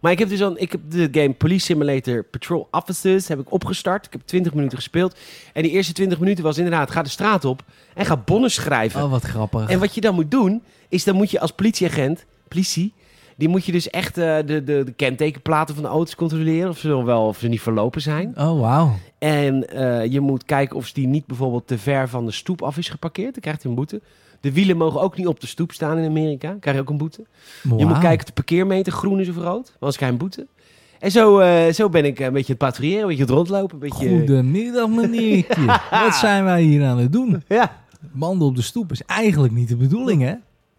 A: Maar ik heb dus al, ik heb de game Police Simulator Patrol Officers heb ik opgestart. Ik heb 20 minuten gespeeld. En die eerste 20 minuten was inderdaad, ga de straat op en ga bonnen schrijven.
B: Oh, wat grappig.
A: En wat je dan moet doen, is dan moet je als politieagent, politie, die moet je dus echt eh, de, de, de kentekenplaten van de auto's controleren. Of ze nog wel of ze niet verlopen zijn.
B: Oh, wauw.
A: En eh, je moet kijken of die niet bijvoorbeeld te ver van de stoep af is geparkeerd. Dan krijgt hij een boete. De wielen mogen ook niet op de stoep staan in Amerika. Dan krijg je ook een boete. Je moet
B: Wauw.
A: kijken of de parkeermeter groen is of rood. Want anders krijg je een boete. En zo, eh, zo ben ik een beetje aan het patrouilleren, een beetje aan het rondlopen. Een beetje,
B: Goedemiddag, meneertje. Wat zijn wij hier aan het doen?
A: eh, Ja.
B: Banden op de stoep is eigenlijk niet de bedoeling, hè?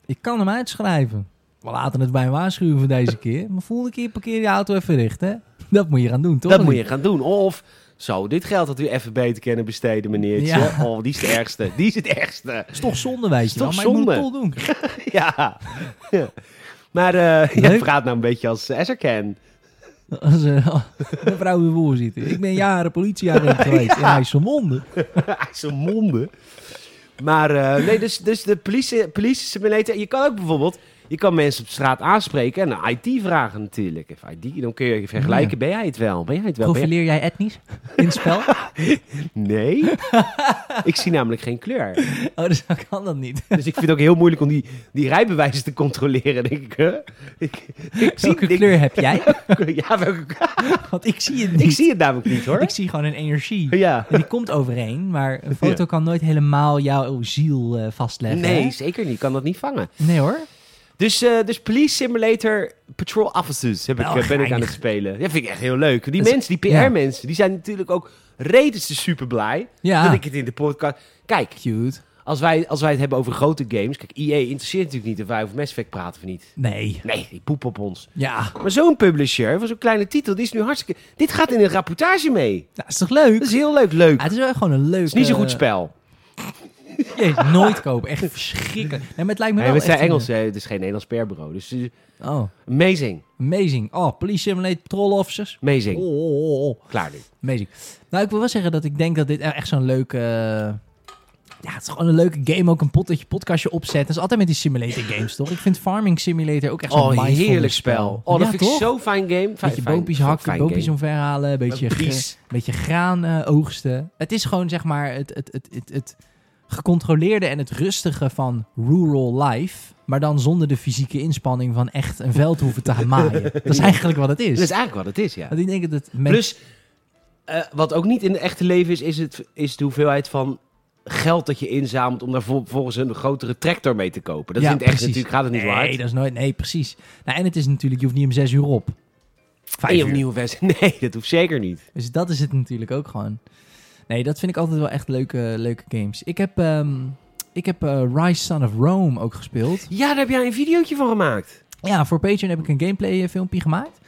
B: Ik kan hem uitschrijven. We laten het bij een waarschuwing voor deze keer. Maar volgende keer parkeer je auto even recht, hè? Dat moet je gaan doen, toch?
A: dat moet je gaan doen. Of zo, dit geld had u even beter kunnen besteden, meneertje.
B: Ja.
A: Oh, die is de ergste. Die is het ergste.
B: is toch zonde, weet je wel.
A: Is
B: Maar
A: toch
B: ik moet het toch
A: zonde?
B: doen.
A: ja. Ja. Maar eh jij
B: Leuk.
A: praat nou een beetje als Esserken.
B: Als eh, mevrouw de voorzitter. Ik ben jaren politieagent geweest. En hij is vermonden.
A: Zijn monden. Maar eh, nee, dus, dus de police, police simulator. Je kan ook bijvoorbeeld. Je kan mensen op straat aanspreken en een IT vragen natuurlijk. Even ID, dan kun je vergelijken. Ben jij het wel? Ben jij het wel? Ben jij-
B: Profileer jij etnisch in het spel?
A: Nee. ik zie namelijk geen kleur.
B: Oh, dus dan kan dat niet.
A: Dus ik vind het ook heel moeilijk om die, die rijbewijzen te controleren, denk ik. hè? ik, ik zie
B: Welke
A: ik-
B: kleur heb jij?
A: ja, welke-
B: Want ik zie het niet.
A: ik zie het namelijk niet hoor.
B: Ik zie gewoon een energie.
A: Ja.
B: En die komt overeen, maar een foto kan nooit helemaal jouw ziel eh, vastleggen.
A: Nee,
B: hè?
A: zeker niet. Ik kan dat niet vangen.
B: Nee hoor.
A: Dus, eh, dus Police Simulator Patrol Officers heb ik,
B: Wel
A: eh, ben ik aan
B: geinig.
A: het spelen. Dat vind ik echt heel leuk. Die
B: Dat is-
A: mensen, die
B: ja.
A: PR-mensen, die zijn natuurlijk ook redens super blij
B: Ja.
A: dat ik het in de podcast... Kijk,
B: Cute.
A: als wij, als wij het hebben over grote games... Kijk, EA interesseert natuurlijk niet of wij over Mass Effect praten of niet.
B: Nee.
A: Nee, die poep op ons.
B: Ja.
A: Maar zo'n publisher van zo'n kleine titel, die is nu hartstikke... Dit gaat in een rapportage mee.
B: Dat is toch leuk?
A: Dat is heel leuk, leuk. Het
B: Ja, het is wel gewoon een leuk...
A: is niet zo'n goed
B: eh,
A: spel.
B: Jezus, nooit kopen. Echt verschrikkelijk. Nee, maar het lijkt me
A: Nee, maar
B: wel
A: het zijn
B: echt eh. een-
A: Engels, hè. het is geen Nederlands PR-bureau. Dus eh,
B: Oh,
A: amazing,
B: amazing. Oh, police simulator, patrol officers. Oh,
A: amazing.
B: oh, oh, oh.
A: Klaar nu.
B: amazing. Nou, ik wil wel zeggen dat ik denk dat dit e- echt zo'n leuke... eh, Ja, het is gewoon een leuke game. Ook een pot dat je podcastje opzet. Dat is altijd met die simulator games, toch? Ik vind Farming Simulator ook echt zo'n
A: Oh,
B: mindfulness
A: heerlijk spel. Oh, dat
B: Ja,
A: vind
B: toch?
A: ik zo'n fijn game. Fijn,
B: beetje
A: fijn-
B: boompjes
A: fijn-
B: hakken,
A: fijn
B: boompjes
A: game.
B: omverhalen, een beetje,
A: Met
B: gra-
A: Bries.
B: een beetje graan eh, oogsten. Het is gewoon zeg maar het, het, het, het, het gecontroleerde en het rustige van rural life. Maar dan zonder de fysieke inspanning van echt een veld hoeven te gaan maaien. Dat is eigenlijk wat het is.
A: Dat is eigenlijk wat het is, ja.
B: Want ik denk dat het met-
A: Dus Plus, eh, wat ook niet in het echte leven is, is, het, is de hoeveelheid van geld dat je inzamelt om daar vol- volgens een grotere tractor mee te kopen. Dat
B: Ja,
A: is in het echt
B: precies.
A: natuurlijk, gaat het niet
B: nee,
A: waard.
B: dat is nooit. Nee, precies. Nou, en het is natuurlijk, je hoeft niet om zes uur op. Vijf
A: Eeuw,
B: uur.
A: nieuwe versie. Nee, dat hoeft zeker niet.
B: Dus dat is het natuurlijk ook gewoon. Nee, dat vind ik altijd wel echt leuke, leuke games. Ik heb, ehm, ik heb eh, Rise Son of Rome ook gespeeld.
A: Ja, daar heb jij een videootje van gemaakt.
B: Ja, voor Patreon heb ik een gameplay eh, filmpje gemaakt. Eh,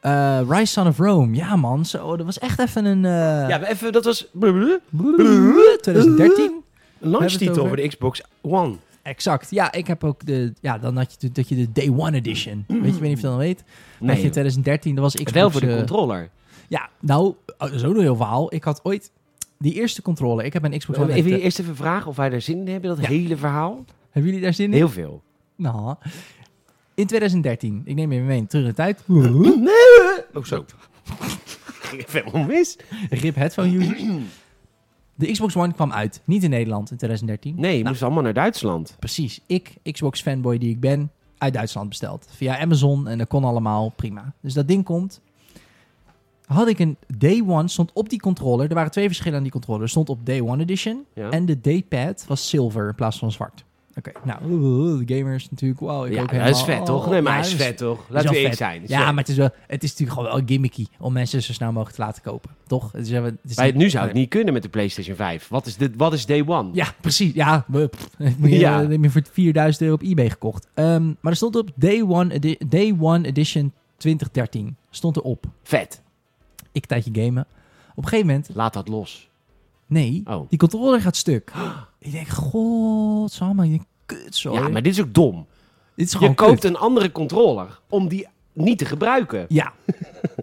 B: Eh, Rise Son of Rome. Ja, man. Zo, dat was echt even een... eh,
A: Ja, maar even, dat was een
B: 2013.
A: launchtitel
B: over?
A: voor de Xbox One.
B: Exact. Ja, ik heb ook de... Ja, dan had je natuurlijk dat je de Day One Edition. Weet je, ik weet niet of je dat weet. Nee, je in 2013, dat was Xbox...
A: wel voor de
B: eh,
A: controller.
B: Ja, nou, oh, zo door heel verhaal. Ik had ooit die eerste controle. Ik heb een Xbox One.
A: Even,
B: Hebben
A: eerst even vragen of wij daar zin in hebben, dat
B: Ja.
A: hele verhaal.
B: jullie daar zin in?
A: Heel veel.
B: Nou, in 2013. Ik neem je mee terug in de tijd.
A: Oh, zo. Ging even helemaal mis.
B: Rip headphone users. De Xbox One kwam uit. Niet in Nederland in 2013.
A: Nee, je
B: Nou,
A: moest allemaal naar Duitsland.
B: precies. Ik, Xbox fanboy die ik ben, uit Duitsland besteld. Via Amazon en dat kon allemaal prima. Dus dat ding komt. Had ik een Day One, stond op die controller. Er waren twee verschillen aan die controller. Er stond op Day One Edition.
A: Ja.
B: En de D-pad was zilver in plaats van zwart. Oké, nou, oeh, de gamers natuurlijk, wauw. ik
A: ja,
B: ook
A: dat
B: helemaal-
A: is vet, toch?
B: oh,
A: Nee, maar
B: ja,
A: hij is
B: dat
A: vet, toch?
B: dat is
A: Laten we
B: wel
A: eerlijk
B: vet.
A: zijn.
B: Ja, maar het is, wel, het is natuurlijk gewoon wel gimmicky om mensen zo snel mogelijk te laten kopen. Toch? Het is, even- het is
A: Bij,
B: niet-
A: nu zou het niet kunnen met de PlayStation 5. Wat is, dit, wat is day one?
B: Ja, precies. Ja, we- pff, moet je,
A: Ja.
B: eh, heb je voor 4000 euro op eBay gekocht. Ehm, maar er stond op Day One, Edi- Day One Edition 2013. Stond erop.
A: Vet.
B: Ik tijdje gamen. Op een gegeven moment,
A: Laat dat los.
B: nee,
A: Oh.
B: die controller gaat stuk. Ik denk, godsamme, je kut zo.
A: Ja, maar dit is ook dom.
B: Dit is gewoon
A: Je koopt
B: kut.
A: een andere controller om die niet te gebruiken.
B: Ja.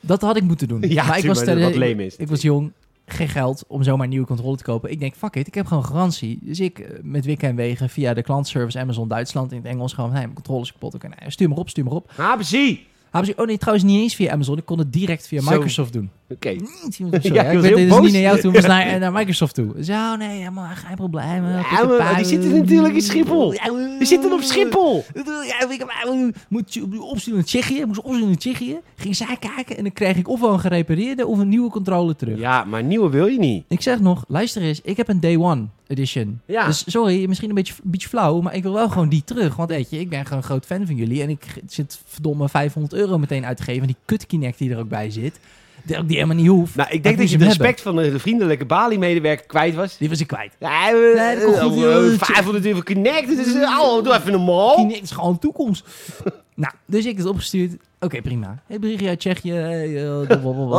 B: dat had ik moeten doen.
A: Ja,
B: maar ik was,
A: tuurlijk,
B: ter-
A: wat leem is.
B: ik was jong, geen geld om zomaar een nieuwe controle te kopen. Ik denk, fuck it, ik heb gewoon garantie. Dus ik eh, met wik en wegen via de klantservice Amazon Duitsland in het Engels gewoon, hey, mijn controle is kapot. Oké, nou, stuur maar op, stuur maar op.
A: HBC!
B: Hebben ze, oh nee, trouwens niet eens via Amazon. Ik kon het direct via
A: Zo.
B: Microsoft doen.
A: Oké.
B: Niet, Sorry,
A: je
B: ja,
A: was
B: ik weet,
A: heel
B: dit is
A: boos.
B: niet naar jou toe, maar naar, naar Microsoft toe. Zo, nee, helemaal geen probleem. eh,
A: Ja, maar die zitten natuurlijk in Schiphol. We zitten op Schiphol.
B: Ja, ik moet je opsturen naar Tsjechië. Moest opsturen naar Tsjechië. Ging zij kijken en dan kreeg ik ofwel een gerepareerde of een nieuwe controller terug.
A: Ja, maar nieuwe wil je niet.
B: Ik zeg nog, luister eens, ik heb een Day One Edition.
A: Ja.
B: Dus sorry, misschien een beetje, een beetje flauw, maar ik wil wel gewoon die terug. Want weet je, ik ben gewoon een groot fan van jullie. En ik g- zit verdomme 500 euro meteen uit te geven. Die kut Kinect die er ook bij zit. Die die helemaal niet hoeft.
A: Nou, ik
B: Maar
A: denk dat
B: moet
A: je
B: hem
A: het
B: hebben.
A: respect van de vriendelijke Bali-medewerker kwijt was.
B: Die was ik kwijt.
A: Ja, we-
B: Nee, dat komt goed,
A: eh,
B: joh.
A: 500 euro connect. Dus, oh, doe even normaal.
B: Kinect is gewoon toekomst. nou, dus ik heb het opgestuurd. Oké, prima. Hey, berichtje uit Tsjechië. Hey, eh, blablabla.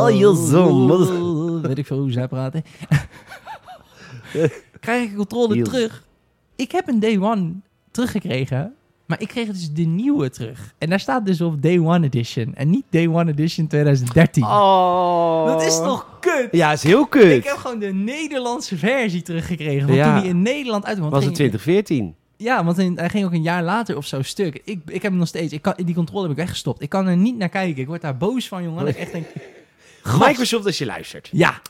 A: Oh, je zoon, wat-
B: Weet ik veel hoe zij praten. Krijg ik een controle
A: Heel.
B: terug. Ik heb een day one teruggekregen. Maar ik kreeg dus de nieuwe terug. En daar staat dus op day one edition. En niet day one edition 2013.
A: Oh.
B: Dat is toch kut?
A: Ja, is heel
B: Ik heb
A: kut.
B: gewoon de Nederlandse versie teruggekregen. Want
A: Ja.
B: toen die in Nederland uit... want
A: Was het
B: ging-
A: 2014?
B: ja, want in- hij ging ook een jaar later of zo stuk. Ik, ik heb hem nog steeds. Ik kan, die controle heb ik weggestopt. Ik kan er niet naar kijken. Ik word daar boos van, jongen. Dat ik echt denk. gast.
A: Microsoft, als je luistert.
B: Ja,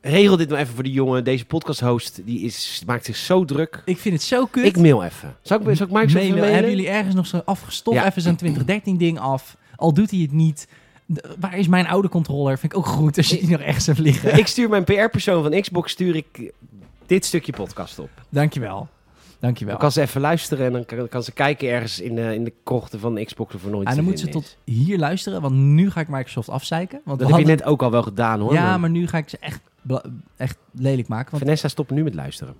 A: Regel dit nou even voor die jongen. Deze podcast-host die is, maakt zich zo druk.
B: ik vind het zo kut.
A: Ik mail even. Zal ik, zal ik Microsoft even
B: Mailen.
A: mailen?
B: Hebben jullie ergens nog zo afgestopt?
A: Ja.
B: Even zo'n 2013-ding af. Al doet hij het niet. D- waar is mijn oude controller? Vind ik ook goed als je die nog ergens hebt liggen.
A: Ik stuur mijn PR-persoon van Xbox stuur ik dit stukje podcast op.
B: Dankjewel. Dankjewel. Ah,
A: Dan kan ze even luisteren en dan kan, kan ze kijken ergens in, eh, in de krochten van de Xbox of er nooit
B: En Ah, dan moet ze tot hier luisteren, want nu ga ik Microsoft afzeiken. Want
A: Dat
B: we
A: heb je
B: hadden-
A: net ook al wel gedaan hoor.
B: Ja,
A: man.
B: maar nu ga ik ze echt, bla- echt lelijk maken. Want
A: Vanessa, stop nu met luisteren.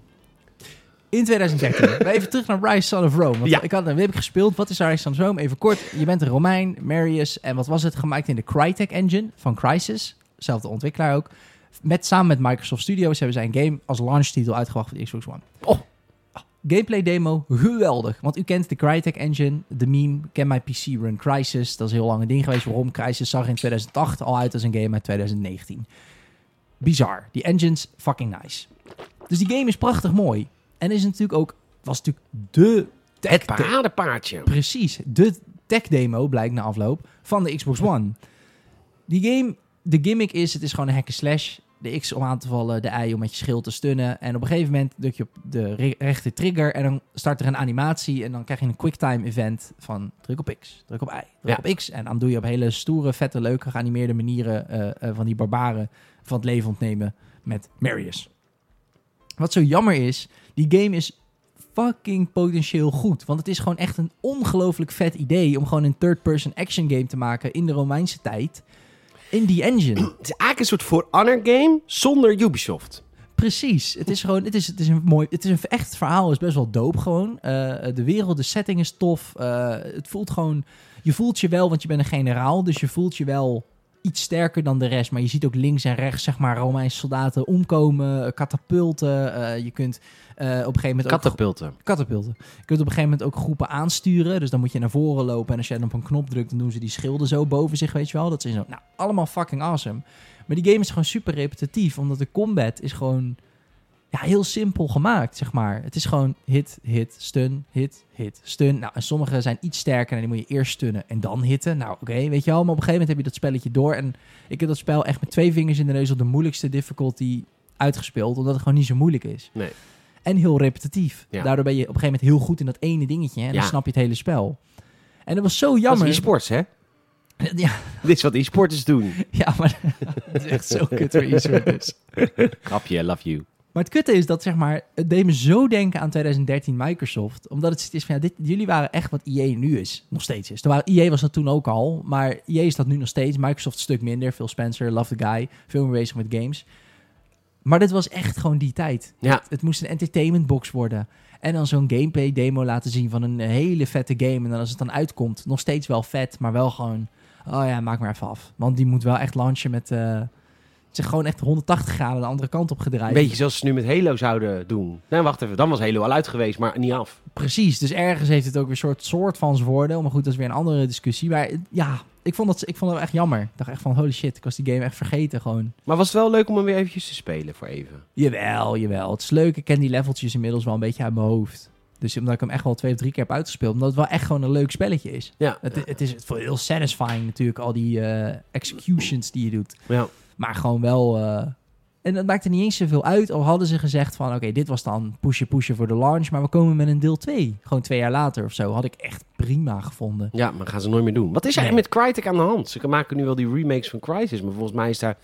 B: In 2013. Maar even terug naar Rise Son of Rome. Want
A: Ja.
B: ik had, wie heb ik gespeeld? Wat is Rise Son of Rome? Even kort. Je bent een Romein, Marius. En wat was het? Gemaakt in de Crytek engine van Crysis. Zelfde ontwikkelaar ook. Met, samen met Microsoft Studios hebben zij een game als launchtitel uitgebracht voor de Xbox One. Ah,
A: Oh.
B: Gameplay demo, geweldig. Want u kent de Crytek engine, de meme, ken mijn PC run Crysis. Dat is een heel lang een ding geweest. Waarom? Crysis zag er in 2008 al uit als een game uit 2019. Bizar. Die engines, fucking nice. Dus die game is prachtig mooi. En is natuurlijk ook, was natuurlijk de tech
A: Het
B: de-
A: paradepaardje.
B: Precies, de tech demo blijkt na afloop van de Xbox One. Die game, de gimmick is, het is gewoon een hack and slash. De X om aan te vallen, de Y om met je schild te stunnen. En op een gegeven moment druk je op de re- rechte trigger en dan start er een animatie. En dan krijg je een quicktime event van druk op X, druk op Y, druk op X. En dan doe je op hele stoere, vette, leuke, geanimeerde manieren eh, eh, van die barbaren van het leven ontnemen met Marius. Wat zo jammer is, die game is fucking potentieel goed. Want het is gewoon echt een ongelooflijk vet idee om gewoon een third-person action game te maken in de Romeinse tijd. In die engine.
A: Het is eigenlijk een soort For Honor game zonder Ubisoft.
B: Precies. Het is gewoon, het is, het is een mooi, het is een echt verhaal, is best wel doop gewoon. Eh, de wereld, de setting is tof. Eh, het voelt gewoon, je voelt je wel, want je bent een generaal, dus je voelt je wel iets sterker dan de rest. Maar je ziet ook links en rechts, zeg maar, Romeinse soldaten omkomen, eh, katapulten. Eh, je kunt eh, op een gegeven moment ook...
A: Katapulten.
B: Katapulten. Je kunt op een gegeven moment ook groepen aansturen. Dus dan moet je naar voren lopen. En als jij dan op een knop drukt, dan doen ze die schilden zo boven zich, weet je wel. Dat is zo, nou, allemaal fucking awesome. Maar die game is gewoon super repetitief. Omdat de combat is gewoon ja, heel simpel gemaakt, zeg maar. Het is gewoon hit, hit, stun, hit, hit, stun. Nou, en sommige zijn iets sterker en die moet je eerst stunnen en dan hitten. Nou, oké, weet je wel. Maar op een gegeven moment heb je dat spelletje door. En ik heb dat spel echt met twee vingers in de neus op de moeilijkste difficulty uitgespeeld. Omdat het gewoon niet zo moeilijk is.
A: Nee.
B: En heel repetitief.
A: Ja.
B: Daardoor ben je op een gegeven moment heel goed in dat ene dingetje. Hè? En
A: Ja.
B: dan snap je het hele spel. En dat was zo
A: Dat
B: jammer.
A: is e-sports, hè?
B: ja,
A: Dit is wat e-sporters doen.
B: ja, maar het is echt zo kut voor e dus.
A: Grapje, I love you.
B: Maar het kutte is dat, zeg maar, het deed me zo denken aan 2013 Microsoft. Omdat het is van, ja, dit, jullie waren echt wat EA nu is. Nog steeds is. Terwijl EA was dat toen ook al. Maar EA is dat nu nog steeds. Microsoft een stuk minder. Phil Spencer, love the guy. Veel meer bezig met games. Maar dit was echt gewoon die tijd.
A: Ja.
B: Het moest een entertainment box worden. En dan zo'n gameplay demo laten zien van een hele vette game. En dan als het dan uitkomt, nog steeds wel vet, maar wel gewoon... Oh ja, maak maar even af. Want die moet wel echt launchen met... eh, het is gewoon echt 180 graden de andere kant op gedraaid.
A: Een beetje zoals ze nu met Halo zouden doen. Nee, wacht even. Dan was Halo al uit geweest, maar niet af.
B: Precies, dus ergens heeft het ook weer een soort, soort van zijn woorden. Maar goed, dat is weer een andere discussie. Maar eh, ja, ik vond dat, ik vond dat echt jammer. Ik dacht echt van, holy shit, ik was die game echt vergeten gewoon.
A: Maar was het wel leuk om hem weer eventjes te spelen voor even?
B: Jawel, jawel. Het is leuk, ik ken die leveltjes inmiddels wel een beetje uit mijn hoofd. Dus omdat ik hem echt wel twee of drie keer heb uitgespeeld. Omdat het wel echt gewoon een leuk spelletje is.
A: Ja.
B: Het, het is voor heel satisfying natuurlijk, al die eh, executions die je doet.
A: ja.
B: Maar gewoon wel. eh, en dat maakte niet eens zoveel uit. Al hadden ze gezegd van oké, dit was dan pushen pushen voor de launch. Maar we komen met een deel 2. Gewoon twee jaar later of zo. Had ik echt prima gevonden.
A: Ja, maar gaan ze nooit meer doen. Wat is er
B: Nee.
A: met Crytek aan de hand? Ze maken nu wel die remakes van Crysis, maar volgens mij is daar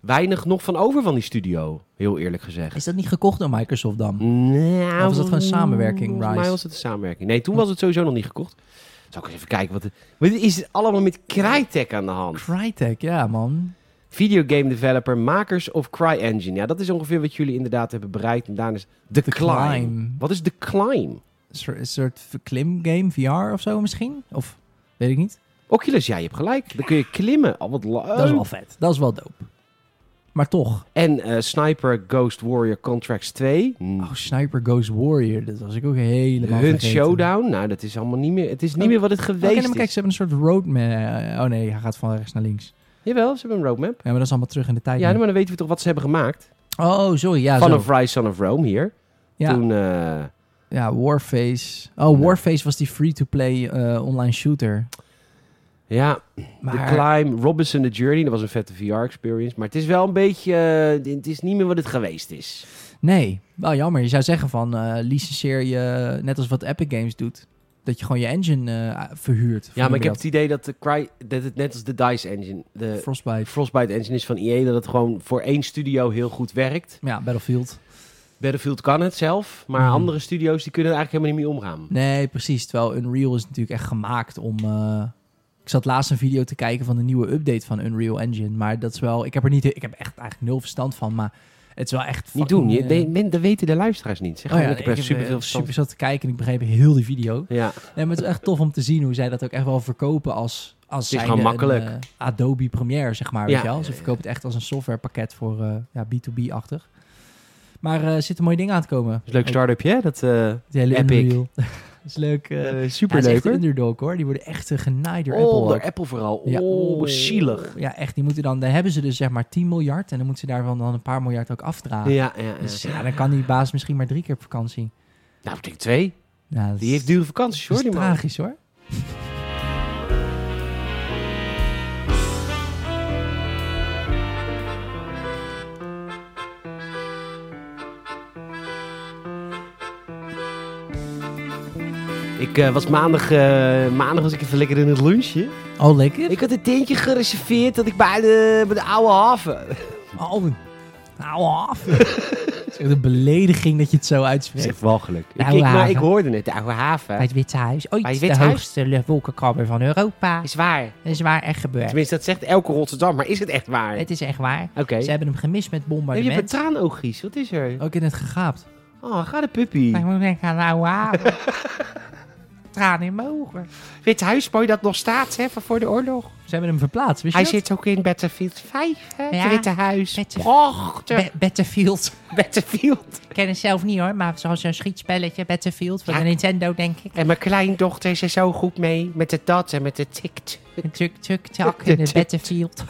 A: weinig nog van over van die studio, heel eerlijk gezegd.
B: Is dat niet gekocht door Microsoft dan?
A: Nou,
B: Of was dat gewoon samenwerking,
A: Volgens mij
B: Rise?
A: was het een samenwerking. Nee, toen was het sowieso nog niet gekocht. Zal ik eens even kijken, wat, het- wat is het allemaal met Crytek aan de hand?
B: Crytek, ja man.
A: Videogame developer, makers of CryEngine. Ja, dat is ongeveer wat jullie inderdaad hebben bereikt. En daarna is The,
B: The
A: climb.
B: Climb.
A: Wat is The Climb?
B: Een soort- Een soort klimgame, VR of zo misschien? Of weet ik niet.
A: Oculus, ja, je hebt gelijk. Dan kun je klimmen. Al wat
B: Dat is wel vet. Dat is wel dope. Maar toch.
A: En eh, Sniper Ghost Warrior Contracts 2.
B: Oh, Sniper Goes Warrior. Dat was ik ook helemaal
A: Hunt
B: vergeten.
A: Showdown. Nou, dat is allemaal niet meer. Het is niet
B: Oh.
A: meer wat het
B: Oh,
A: geweest
B: kijk, maar kijk,
A: is.
B: ze hebben een soort roadmap. Oh nee, hij gaat van rechts naar links.
A: Jawel, ze hebben een roadmap.
B: Ja, maar dat is allemaal terug in de tijd.
A: Ja,
B: nu.
A: maar dan weten we toch wat ze hebben gemaakt.
B: Oh, sorry. Ja,
A: Van
B: zo.
A: of Rise, Son of Rome hier.
B: ja,
A: Toen, eh,
B: ja, Warface. Oh, Warface was die free-to-play eh, online shooter.
A: ja, The
B: Maar
A: Climb, Robinson The Journey. Dat was een vette VR-experience. Maar het is wel een beetje... eh, het is niet meer wat het geweest is.
B: nee, wel jammer. Je zou zeggen van, eh licenseer je, net als wat Epic Games doet, dat je gewoon je engine eh, verhuurt.
A: Ja, maar ik heb
B: Bijvoorbeeld
A: het idee dat, de Cry, dat het net als de DICE Engine... De
B: Frostbite.
A: Frostbite Engine is van EA. Dat het gewoon voor één studio heel goed werkt.
B: Ja, Battlefield.
A: Battlefield kan het zelf. Maar
B: Mhm.
A: andere studio's die kunnen er eigenlijk helemaal niet mee omgaan.
B: Nee, precies. Terwijl Unreal is natuurlijk echt gemaakt om... eh, ik zat laatst een video te kijken van de nieuwe update van Unreal Engine. Maar dat is wel... Ik heb er niet... Ik heb echt eigenlijk nul verstand van, maar... Het is wel echt...
A: Niet
B: fucking,
A: doen. Je,
B: eh,
A: nee, men- dat weten de luisteraars niet. Zeg
B: Oh ja,
A: gewoon, ik heb er
B: super,
A: super veel
B: super zat te kijken en ik begreep heel die video.
A: Ja,
B: Nee, maar het is echt tof om te zien hoe zij dat ook echt wel verkopen als, als
A: Het is
B: zijnde
A: gewoon makkelijk.
B: een, eh, Adobe Premiere, zeg maar.
A: Ja,
B: weet je wel?
A: ja,
B: Ze
A: ja.
B: verkopen het echt als een softwarepakket voor eh, ja, B2B-achtig. Maar eh, er zitten mooie dingen aan te komen.
A: is een leuk
B: Ook
A: start-upje. hè? Dat, eh
B: die hele
A: Epic.
B: Unreal. dat is leuk. eh
A: eh,
B: ja, het
A: super
B: is echt
A: leuk
B: een
A: hoor.
B: underdog hoor. Die worden echt eh, genaaid door Apple.
A: Oh, door
B: ook.
A: Apple vooral.
B: Ja.
A: Oh, zielig.
B: Ja, echt. Die moeten dan, dan hebben ze dus zeg maar 10 miljard en dan moeten ze daarvan dan een paar miljard ook
A: Ja,
B: afdragen.
A: ja, ja.
B: Dus ja, dan kan die baas misschien maar drie keer op vakantie.
A: eh, Nou, betekent twee.
B: Ja, dat
A: Die
B: is-
A: heeft dure vakanties
B: dat
A: hoor,
B: is
A: die man.
B: tragisch hoor.
A: Ik eh, was maandag, eh, maandag was ik even lekker in het lunchje.
B: Oh, lekker.
A: Ik had een tentje gereserveerd dat ik bij de, bij de oude haven.
B: Oh, nou Oh, af. is echt een belediging dat je het zo
A: Dat is echt
B: uitspreekt.
A: walgelijk.
B: De
A: Dus Ik,
B: oude
A: ik- maar
B: haven.
A: ik hoorde het, de oude haven.
B: Bij het Witte Huis. Ooit
A: Bij het
B: de
A: Witte Huis.
B: hoogste wolkenkrabber van Europa.
A: Is waar.
B: Dat is waar echt gebeurd.
A: Tenminste, dat zegt elke Rotterdam, maar is het echt waar?
B: Het is echt waar.
A: Oké.
B: Ze hebben hem gemist met
A: Heb je een
B: bombardement.
A: traanoogjes? Wat is er?
B: Ook in het gegaapt.
A: Oh, ga de puppy.
B: Maar ik moet denken aan de oude haven. Tranen in mijn ogen.
A: Wit Huis, mooi dat nog staat hè, van voor de oorlog.
B: Ze hebben hem verplaatst, wist je
A: Hij
B: dat?
A: zit ook in Battlefield 5, hè?
B: Ja.
A: Het Witte Huis.
B: Battlefield.
A: Prachtig.
B: Be- Battlefield.
A: Battlefield.
B: Ik ken het zelf niet hoor, maar zoals een schietspelletje. Battlefield van
A: Ja.
B: de Nintendo, denk ik.
A: En mijn kleindochter is er zo goed mee. Met de dat en met de tikt.
B: Een tuk tuk tak in de
A: Tuk-tuk.
B: Battlefield.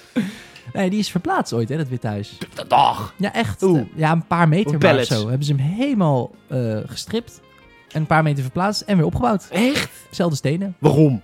B: nee, die is verplaatst ooit, hè, dat Witte Huis.
A: Dag.
B: Ja, echt.
A: Oeh.
B: Ja, een paar meter
A: Oeh,
B: maar of
A: pallets.
B: zo. Hebben ze hem helemaal eh, gestript. Een paar meter verplaatst en weer opgebouwd.
A: Echt?
B: Zelfde stenen.
A: Waarom?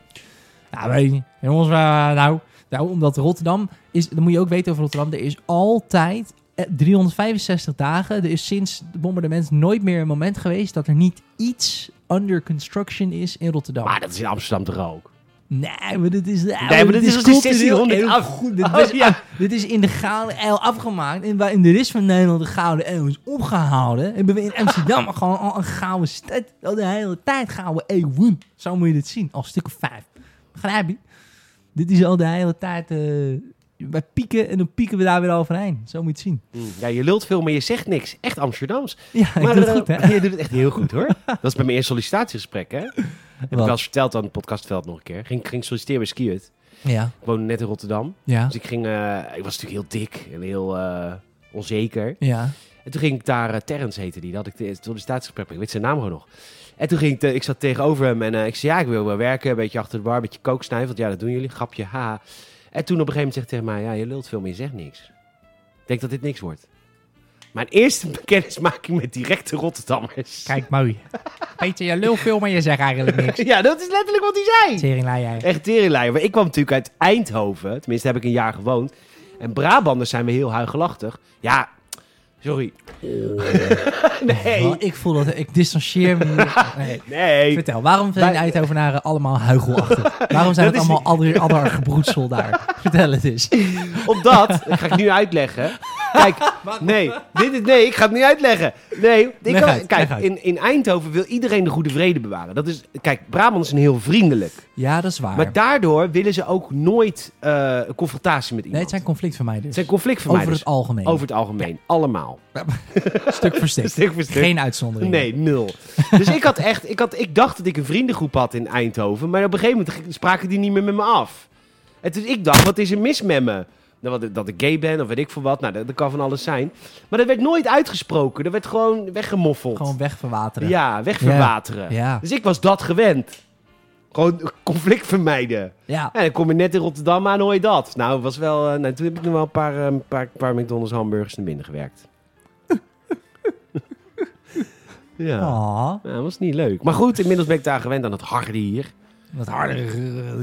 B: Nou, weet je niet. Jongens, waar- nou, nou, omdat Rotterdam is... Dat moet je ook weten over Rotterdam. Er is altijd eh, 365 dagen. Er is sinds de bombardement nooit meer een moment geweest... dat er niet iets under construction is in Rotterdam.
A: Maar dat is in Amsterdam toch ook?
B: Nee, maar dit is... Nee,
A: maar dit is al sinds 1600
B: heel
A: af.
B: goed. Dit,
A: Oh,
B: was-
A: ja.
B: dit is in de Gouden Eil afgemaakt. En waar in de rest van Nederland de Gouden Eil is opgehouden... hebben we in Amsterdam gewoon al een gouden stad. Al de hele tijd gouden eeuwen. Zo moet je dit zien. Al stukken vijf. Begrijp je? Dit is al de hele tijd... eh, wij pieken en dan pieken we daar weer overheen. Zo moet je het zien.
A: Mm. Ja, je lult veel, maar je zegt niks. Echt Amsterdams.
B: Ja, ik
A: Maar,
B: doe het
A: eh,
B: goed, hè?
A: Je doet het echt heel goed, hoor. Dat is bij mijn eerste sollicitatiegesprek, hè? Heb ik
B: Wat?
A: wel eens verteld aan het podcastveld nog een keer. Ging, ging solliciteren bij Skiët.
B: Ja,
A: Ik woonde net in Rotterdam.
B: ja,
A: Dus ik ging... eh, ik was natuurlijk heel dik en heel eh, onzeker.
B: ja.
A: En toen ging ik daar, eh, Terrence heette die, dat had ik het sollicitatiegesprek, mee. ik weet zijn naam gewoon nog. En toen ging ik, te- ik zat tegenover hem en eh, ik zei, ja, ik wil wel werken, een beetje achter de bar, een beetje kook snijden, want ja, dat doen jullie, grapje, ha. En toen op een gegeven moment zegt hij tegen mij, ja, je lult veel, maar je zegt niks. Ik denk dat dit niks wordt. Mijn eerste kennismaking met directe Rotterdammers.
B: Kijk, mooi. Peter, je lul veel, maar je zegt eigenlijk niks.
A: Ja, dat is letterlijk wat hij zei.
B: Teringlijn jij.
A: Echt teringleier. Maar ik kwam natuurlijk uit Eindhoven. Tenminste, daar heb ik een jaar gewoond. En Brabanders zijn we heel huigelachtig. Ja, sorry. nee,
B: Wel, ik voel dat ik distancieer me. hier. Nee.
A: nee.
B: Vertel, waarom zijn de
A: Wij-
B: Eindhovenaren allemaal huichelachtig? Waarom zijn
A: Dat
B: het
A: is
B: allemaal adder, adder gebroedsel daar? Vertel het eens.
A: Omdat, dat ga ik nu uitleggen. Kijk, nee, dit is, nee, ik ga het nu uitleggen. Nee, ik
B: Leg
A: kan-
B: uit,
A: kijk,
B: leg uit.
A: in, in Eindhoven wil iedereen de goede vrede bewaren. Dat is, kijk, Brabant is een heel vriendelijk.
B: Ja, dat is waar.
A: Maar daardoor willen ze ook nooit eh, een confrontatie met
B: nee,
A: iemand.
B: het zijn conflictvermijders.
A: het zijn conflictvermijders.
B: dus. Over het algemeen.
A: dus. Over het algemeen, allemaal.
B: Stuk voor stuk.
A: Stuk voor stuk.
B: Geen uitzondering.
A: Nee, nul. Dus ik had echt, ik, had, ik dacht dat ik een vriendengroep had in Eindhoven, maar op een gegeven moment ging- spraken die niet meer met me af. En dus ik dacht, wat is er mis met me? Nou, wat- dat ik gay ben of weet ik veel wat, nou, dat, dat kan van alles zijn. Maar dat werd nooit uitgesproken, dat werd gewoon weggemoffeld.
B: Gewoon wegverwateren.
A: ja, wegverwateren.
B: Ja.
A: Dus ik was dat gewend. Gewoon conflict vermijden.
B: ja.
A: En dan kom je net in Rotterdam aan, hoor je dat. Nou, was wel, eh, nou, toen heb ik nog wel een paar, eh, paar, paar McDonald's hamburgers naar binnen gewerkt. ja.
B: Oh,
A: Ja, dat was niet leuk. Maar goed, inmiddels ben ik daar gewend aan het harde hier.
B: wat harder. eh,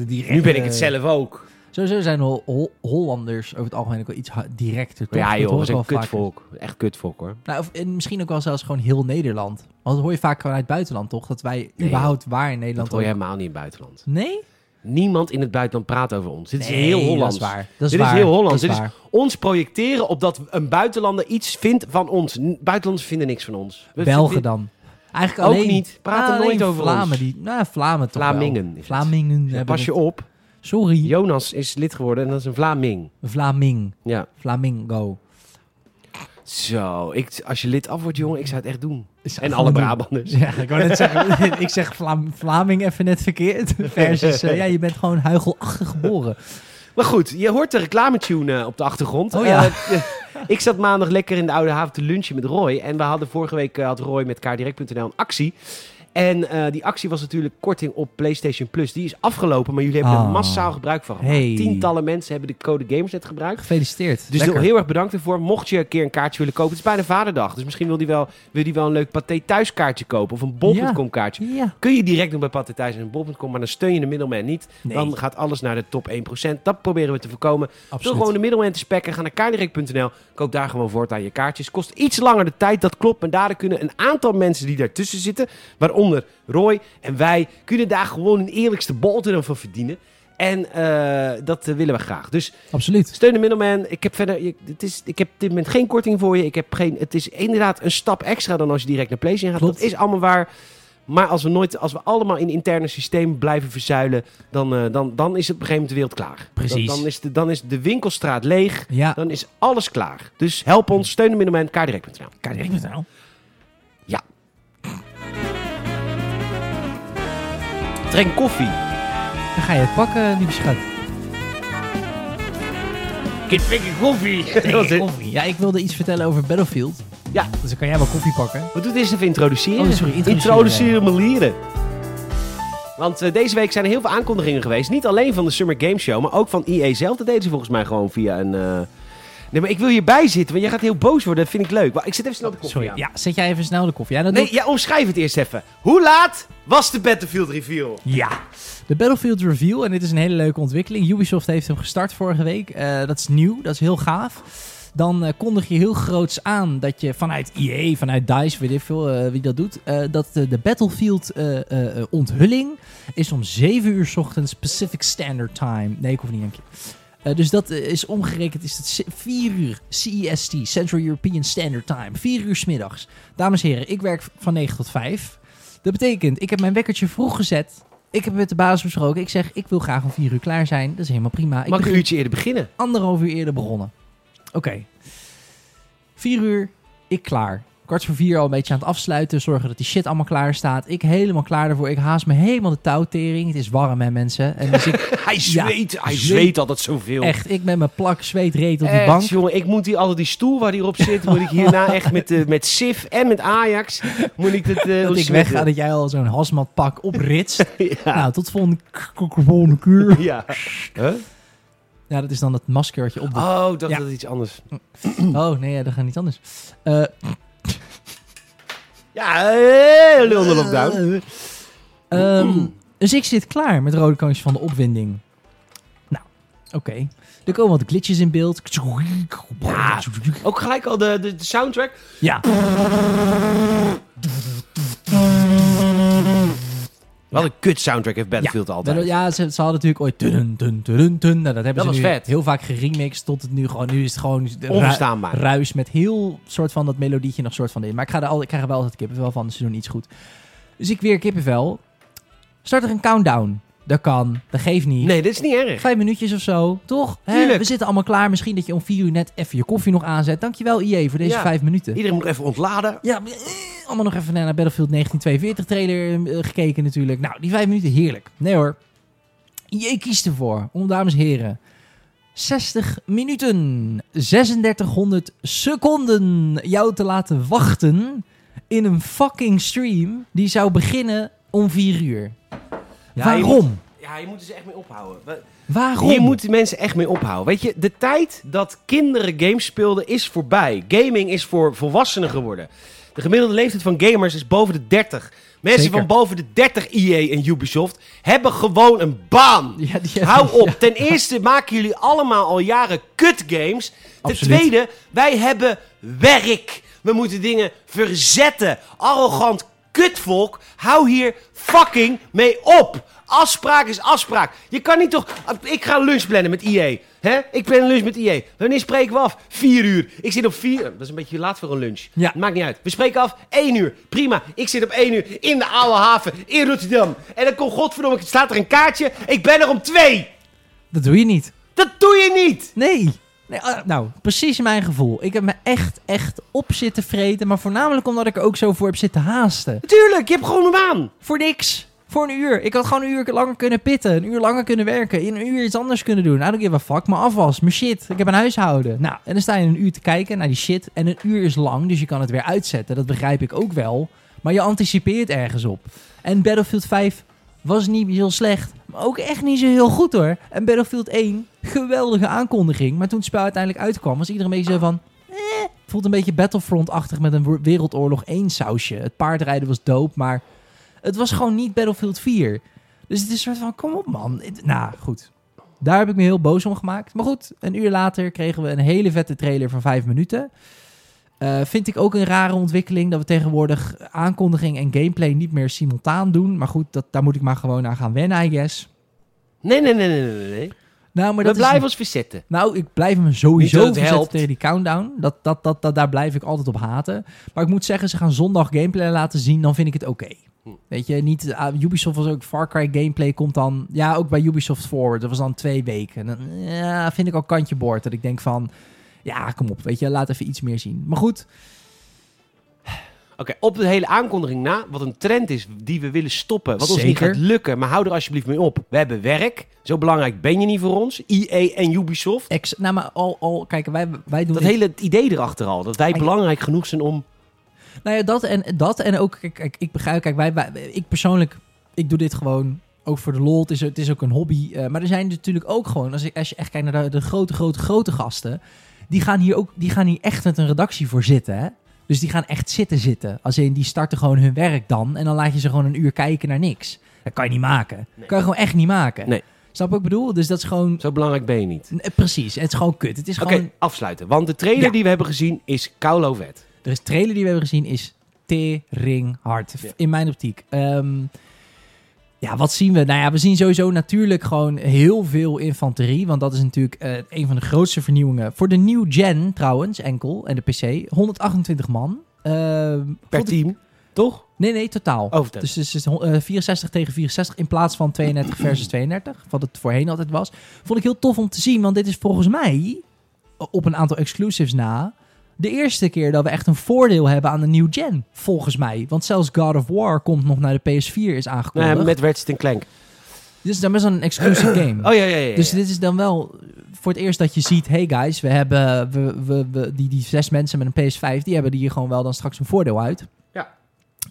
B: direct,
A: Nu ben ik
B: eh,
A: het zelf ook.
B: Sowieso zijn Hol- Hol- Hollanders over het algemeen ook wel iets ha- directer. Toch?
A: ja
B: Dat
A: joh,
B: hoor
A: dat is
B: ik
A: een
B: wel vaker.
A: kutvolk. Echt kutvolk hoor.
B: Nou, of, en misschien ook wel zelfs gewoon heel Nederland. Want dat hoor je vaak vanuit het buitenland, toch? Dat wij
A: Nee,
B: überhaupt waar in
A: Dat
B: Nederland...
A: hoor je
B: ook-
A: helemaal niet in het buitenland.
B: Nee?
A: Niemand in het buitenland praat over ons. Dit is
B: Nee,
A: heel Hollands.
B: Dat is waar. Dat is
A: Dit
B: waar.
A: is heel Hollands.
B: Dat
A: Dit is
B: waar.
A: ons projecteren op dat een buitenlander iets vindt van ons. N- Buitenlanders vinden niks van ons. We
B: Belgen
A: vinden-
B: dan. Eigenlijk
A: Ook
B: alleen, Ah,
A: niet. Praten
B: alleen
A: nooit over
B: Vlamen.
A: ons.
B: Die, nou, Vlamen toch
A: Vlamingen is
B: wel.
A: het.
B: Vlamingen. hebben
A: Pas je
B: het.
A: op.
B: Sorry.
A: Jonas is lid geworden en dat is een Vlaming.
B: Vlaming.
A: Ja.
B: Flamingo.
A: Zo, ik, als je lid af wordt jongen, ik zou het echt doen.
B: Is
A: En
B: gewoon
A: alle
B: doen.
A: Brabanders.
B: Ja, ik wou net zeggen. ik zeg Vlam, Vlaming even net verkeerd. Versus, eh, ja, je bent gewoon huichelachtig geboren.
A: Maar goed, je hoort de reclametune eh, op de achtergrond.
B: Oh ja.
A: Eh, ik zat maandag lekker in de Oude Haven te lunchen met Roy. En we hadden vorige week eh, had Roy met kaardirect.nl een actie. En eh, die actie was natuurlijk korting op PlayStation Plus. Die is afgelopen, maar jullie hebben er
B: Ah.
A: massaal gebruik van gemaakt.
B: Hey.
A: Tientallen mensen hebben de code GamersNet gebruikt.
B: Gefeliciteerd.
A: Dus
B: Lekker.
A: heel erg bedankt ervoor. Mocht je een keer een kaartje willen kopen, het is bijna Vaderdag. Dus misschien wil die wel, wil die wel een leuk Pathé thuis kaartje kopen. Of een bol.com kaartje.
B: Ja.
A: Kun je direct doen bij Pathé thuis en bol.com. Maar dan steun je de middelman niet.
B: Nee,
A: Dan gaat alles naar de top 1%. Dat proberen we te voorkomen. Wil
B: absoluut.
A: gewoon de middelman te spekken. Ga naar kaardirect.nl. Koop daar gewoon voortaan je kaartjes. Kost iets langer de tijd, dat klopt. Maar daardoor kunnen een aantal mensen die daartussen zitten, waaronder Roy en wij, kunnen daar gewoon een eerlijkste boterham van verdienen. En eh, dat eh, willen we graag. Dus
B: Absoluut.
A: steun de middleman. Ik heb verder, je- het is, ik heb op dit moment geen korting voor je. Ik heb geen, het is inderdaad een stap extra dan als je direct naar PlayStation gaat.
B: Klopt.
A: Dat is allemaal waar. Maar als we, nooit, als we allemaal in interne systeem blijven verzuilen, dan, eh, dan, dan is het op een gegeven moment de wereld klaar.
B: Precies.
A: Dan, dan, is de, dan is de winkelstraat leeg.
B: Ja.
A: Dan is alles klaar. Dus help ons, steun de middleman, kaardirect.nl.
B: Kijk.nl.
A: Ja. Trek koffie.
B: Dan ga je het pakken, lieve schat.
A: Kind, trek koffie.
B: Denk ik, koffie. Ja, ik wilde iets vertellen over Battlefield.
A: Ja.
B: Dus dan kan jij wel koffie pakken.
A: Wat doet is even introduceren?
B: Oh, sorry, introduceren.
A: Introduceren mijn lieren. Want eh, deze week zijn er heel veel aankondigingen geweest. Niet alleen van de Summer Game Show, maar ook van EA zelf. Dat deden ze volgens mij gewoon via een... eh, Nee, maar ik wil hierbij zitten, want jij gaat heel boos worden. Dat vind ik leuk. Wa- Ik zet even snel de koffie
B: Sorry.
A: aan.
B: Ja, zet jij even snel de koffie. Ja, dat
A: Nee, ja, omschrijf het eerst even. Hoe laat was de Battlefield reveal?
B: Ja, de Battlefield Reveal. En dit is een hele leuke ontwikkeling. Ubisoft heeft hem gestart vorige week. Eh, dat is nieuw, dat is heel gaaf. Dan eh, kondig je heel groots aan dat je vanuit EA, vanuit DICE, weet ik veel eh, wie dat doet, eh, dat eh, de Battlefield eh, eh, eh, onthulling is om 7 uur 's ochtends Pacific Standard Time. Nee, ik hoef niet, dank je. Eh, dus dat eh, is omgerekend, is dat 4 uur CEST, Central European Standard Time. 4 uur 's middags. Dames en heren, ik werk van 9 tot 5. Dat betekent, ik heb mijn wekkertje vroeg gezet. Ik heb met de baas besproken. Ik zeg, ik wil graag om 4 uur klaar zijn. Dat is helemaal prima.
A: Mag
B: Ik
A: ik
B: begin
A: een uurtje eerder beginnen?
B: anderhalf uur eerder begonnen. Oké. Vier uur, ik klaar. Kwart voor vier al een beetje aan het afsluiten. Zorgen dat die shit allemaal klaar staat. Ik helemaal klaar daarvoor. Ik haast me helemaal de touwtering. Het is warm, hè, mensen. En dus ik,
A: Hij
B: Ja.
A: zweet, hij
B: Zweet.
A: zweet altijd zoveel.
B: echt, ik met mijn plak zweet reet op die
A: Echt,
B: bank.
A: jongen, ik moet hier altijd die stoel waar die op zit, moet ik hierna echt met, eh, met Sif en met Ajax, moet ik het eh
B: Dat ik
A: ontzwetten.
B: wegga, dat jij al zo'n hasmatpak opritst.
A: Ja.
B: Nou, tot volgende, k- k- volgende keer.
A: Ja.
B: Ja, dat is dan dat masker wat je opdoet.
A: Oh, ik dacht
B: Ja.
A: dat het iets anders.
B: Oh, nee, ja, dat gaat niet anders. Eh,
A: Ja, heel lul de lockdown.
B: Eh, ehm,
A: Mm.
B: dus ik zit klaar met rode kontjes van de opwinding. Nou, oké. Er komen wat glitches in beeld.
A: Ja. Ook gelijk al de, de, de soundtrack.
B: Ja.
A: Wat een kut soundtrack heeft Battlefield altijd.
B: Ja, ze, ze hadden natuurlijk ooit... Dun, dun, dun, dun. Nou, dat hebben
A: Dat
B: ze
A: was
B: nu
A: vet.
B: heel vaak geremixed tot het nu gewoon... Nu is het gewoon de ru-
A: Onverstaanbaar.
B: ruis met heel soort van dat melodietje nog soort van in. Maar ik, ga er al, ik krijg er wel altijd kippenvel van, dus ze doen iets goed. Dus ik weer kippenvel. Start er een countdown. Dat kan, dat geeft niet.
A: Nee, dit is niet erg.
B: Vijf minuutjes of zo, toch? Hè?
A: Tuurlijk.
B: We zitten allemaal klaar. Misschien dat je om vier uur net even je koffie nog aanzet. Dankjewel, IE, voor deze
A: Ja.
B: vijf minuten.
A: Iedereen moet even ontladen.
B: Ja, maar, eh, allemaal nog even naar Battlefield 1942 trailer eh, gekeken natuurlijk. Nou, die vijf minuten, heerlijk. Nee hoor. IE kiest ervoor, om dames en heren. 60 minuten, 3600 seconden jou te laten wachten in een fucking stream die zou beginnen om vier uur.
A: Ja, Je
B: Waarom?
A: moet, ja, je moet dus echt mee ophouden. We-
B: Waarom?
A: Hier moeten mensen echt mee ophouden. Weet je, de tijd dat kinderen games speelden is voorbij. Gaming is voor volwassenen geworden. De gemiddelde leeftijd van gamers is boven de 30. Mensen
B: Zeker.
A: van boven de 30 EA en Ubisoft hebben gewoon een baan.
B: Ja, die-
A: Hou op. Ten eerste maken jullie allemaal al jaren kut games. Ten
B: Absoluut.
A: tweede, wij hebben werk. We moeten dingen verzetten. Arrogant kutvolk, hou hier fucking mee op. Afspraak is afspraak. Je kan niet toch... Ik ga lunch plannen met IE. hè? Ik plan een lunch met IE. Wanneer spreken we af? Vier uur. Ik zit op vier... Dat is een beetje laat voor een lunch.
B: Ja.
A: Maakt niet uit. We spreken af. één uur. Prima. Ik zit op één uur in de oude haven in Rotterdam. En dan komt godverdomme... Staat er een kaartje. Ik ben er om twee.
B: Dat doe je niet.
A: Dat doe je niet.
B: Nee. nee ah, nou, precies mijn gevoel. Ik heb me echt, echt op zitten vreten. Maar voornamelijk omdat ik er ook zo voor heb zitten haasten.
A: Tuurlijk, je hebt gewoon een baan.
B: Voor niks. Voor een uur. Ik had gewoon een uur langer kunnen pitten. Een uur langer kunnen werken. In een uur iets anders kunnen doen. I don't give a fuck. Mijn afwas, mijn shit. Ik heb een huishouden. Nou, en dan sta je een uur te kijken naar die shit. En een uur is lang, dus je kan het weer uitzetten. Dat begrijp ik ook wel. Maar je anticipeert ergens op. En Battlefield 5 was niet heel slecht. Maar ook echt niet zo heel goed hoor. En Battlefield 1, geweldige aankondiging. Maar toen het spel uiteindelijk uitkwam, was iedereen een beetje zo van... eh, voelt een beetje Battlefront-achtig met een wo- Wereldoorlog 1 sausje. Het paardrijden was dope, maar... Het was gewoon niet Battlefield 4. Dus het is een soort van, kom op man. Het- nou, goed. Daar heb ik me heel boos om gemaakt. Maar goed, een uur later kregen we een hele vette trailer van vijf minuten. Eh, vind ik ook een rare ontwikkeling dat we tegenwoordig aankondiging en gameplay niet meer simultaan doen. Maar goed, dat, daar moet ik maar gewoon aan gaan wennen, I guess.
A: Nee, nee, nee, nee, nee. nee.
B: Nou, maar
A: we
B: dat is-
A: blijven ons verzetten.
B: Nou, ik blijf me
A: Niet
B: sowieso
A: dat het
B: verzetten
A: helpt.
B: tegen die countdown. Dat, dat, dat, dat, daar blijf ik altijd op haten. Maar ik moet zeggen, ze gaan zondag gameplay laten zien. Dan vind ik het oké.
A: Hm.
B: Weet je, niet, ah, Ubisoft was ook Far Cry gameplay komt dan... Ja, ook bij Ubisoft Forward. Dat was dan twee weken. En Dan, ja, vind ik al kantje boord. Dat ik denk van... Ja, kom op, weet je, laat even iets meer zien. Maar goed,
A: Oké, op de hele aankondiging na, wat een trend is die we willen stoppen, wat ons niet
B: Zeker.
A: gaat lukken, maar hou er alsjeblieft mee op. We hebben werk, zo belangrijk ben je niet voor ons, EA en Ubisoft.
B: ex, nou maar al, al kijk, wij, wij doen...
A: Dat hele idee erachter al, dat
B: Ah,
A: wij belangrijk genoeg zijn om...
B: Nou ja, dat en, dat en ook, kijk, kijk, ik begrijp, kijk, wij, wij- ik persoonlijk, ik doe dit gewoon ook voor de lol. Het is, het is ook een hobby. eh, maar er zijn natuurlijk ook gewoon, als je, als je echt kijkt naar de, de grote, grote, grote gasten, die gaan hier ook, die gaan hier echt met een redactie voor zitten, hè. Dus die gaan echt zitten zitten. Als in, die starten gewoon hun werk dan. En dan laat je ze gewoon een uur kijken naar niks. Dat kan je niet maken.
A: Nee.
B: Kan je gewoon echt niet maken.
A: Nee.
B: Snap wat ik bedoel? Dus dat is gewoon...
A: Zo belangrijk ben je niet.
B: eh, Precies, het is gewoon kut. Het is
A: Oké,
B: gewoon...
A: afsluiten. Want de trailer
B: Ja.
A: die we hebben gezien is Kaulo vet.
B: Er is trailer die we hebben gezien is tering hard.
A: Ja.
B: In mijn optiek. Ehm, ja, wat zien we? Nou ja, we zien sowieso natuurlijk gewoon heel veel infanterie. Want dat is natuurlijk eh, een van de grootste vernieuwingen. Voor de new gen trouwens, enkel. En de PC. 128 man. Ehm,
A: Per
B: vond ik-
A: team, Oh, toch?
B: Nee, nee, totaal.
A: Over
B: Dus het is eh, 64 tegen 64 in plaats van 32 versus 32, wat het voorheen altijd was. Vond ik heel tof om te zien, want dit is volgens mij, eh, op een aantal exclusives na, de eerste keer dat we echt een voordeel hebben aan de new gen. Volgens mij. Want zelfs God of War komt nog naar de PS4, is aangekondigd.
A: Nee, Nou met Ratchet en Clank.
B: Dit is dan best wel een exclusive game.
A: Oh ja, ja, ja. ja.
B: Dus dit is dan wel voor het eerst dat je ziet... hey guys, we hebben we, we, we- die, die zes mensen met een PS5... die hebben hier gewoon wel dan straks een voordeel uit.
A: Ja.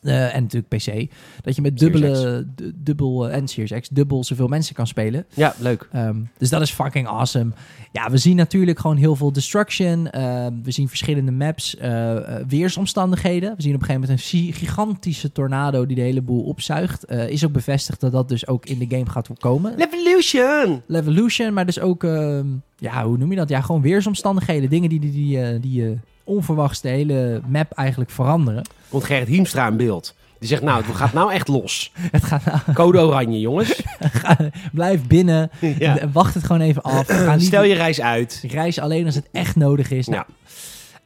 B: Eh, en natuurlijk PC. Dat je met
A: Series
B: dubbele, du- dubbel, eh, en Series X dubbel zoveel mensen kan spelen.
A: Ja, leuk.
B: Ehm, dus dat is fucking awesome. Ja, we zien natuurlijk gewoon heel veel destruction. Ehm, we zien verschillende maps, eh, eh, weersomstandigheden. We zien op een gegeven moment een gi- gigantische tornado die de hele boel opzuigt. Eh, is ook bevestigd dat dat dus ook in de game gaat komen.
A: Revolution!
B: Levolution, maar dus ook, ehm, ja, hoe noem je dat? Ja, gewoon weersomstandigheden. Dingen die, die, die, eh, die eh, onverwachts de hele map eigenlijk veranderen.
A: Komt Gerrit Hiemstra in beeld. Die zegt, nou, het gaat nou echt los.
B: Het gaat, nou-
A: Code oranje, jongens.
B: blijf binnen,
A: ja.
B: en wacht het gewoon even af. Ga niet
A: Stel je reis uit.
B: reis alleen als het echt nodig is. Nou,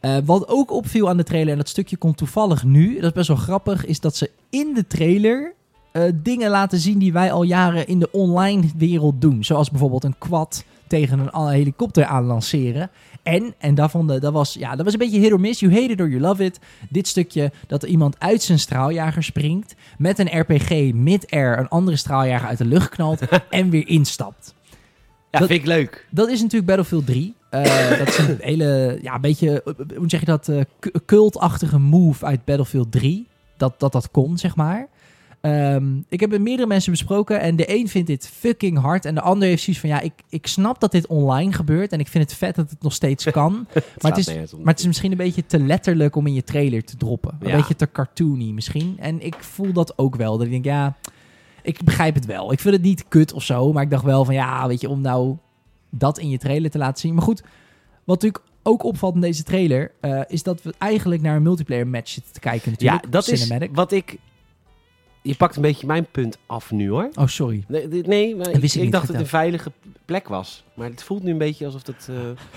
A: Ja.
B: eh, wat ook opviel aan de trailer, en dat stukje komt toevallig nu, dat is best wel grappig, is dat ze in de trailer eh, dingen laten zien die wij al jaren in de online wereld doen. Zoals bijvoorbeeld een quad tegen een a- helikopter aan lanceren. En, en daarvan, de, dat, was, ja, dat was een beetje hit or miss. You hate it or you love it. Dit stukje dat er iemand uit zijn straaljager springt. Met een RPG mid-air een andere straaljager uit de lucht knalt. en weer instapt.
A: Ja,
B: Dat-
A: vind ik leuk.
B: Dat is natuurlijk Battlefield 3. Eh, dat is een hele, ja, een beetje, eh, hoe zeg je dat, eh, cu- cultachtige move uit Battlefield 3. Dat dat, dat kon, zeg maar. Ehm, ik heb met meerdere mensen besproken en de een vindt dit fucking hard en de ander heeft zoiets van, ja, ik, ik snap dat dit online gebeurt en ik vind het vet dat het nog steeds kan. maar,
A: Staat
B: het is,
A: nergens om.
B: maar het is misschien een beetje te letterlijk om in je trailer te droppen. Een
A: Ja.
B: beetje te cartoony misschien. En ik voel dat ook wel. Dat ik denk, ja, ik begrijp het wel. Ik vind het niet kut of zo, maar ik dacht wel van, ja, weet je, om nou dat in je trailer te laten zien. Maar goed, wat natuurlijk ook opvalt in deze trailer, eh, is dat we eigenlijk naar een multiplayer match zitten te kijken
A: Ja,
B: natuurlijk.
A: dat is
B: Cinematic.
A: wat ik... Je pakt een beetje mijn punt af nu, hoor.
B: Oh, sorry.
A: Nee, dit- nee maar
B: Dat
A: ik,
B: wist ik
A: ik
B: niet,
A: dacht dat het een
B: vertel.
A: veilige plek was. Maar het voelt nu een beetje alsof dat...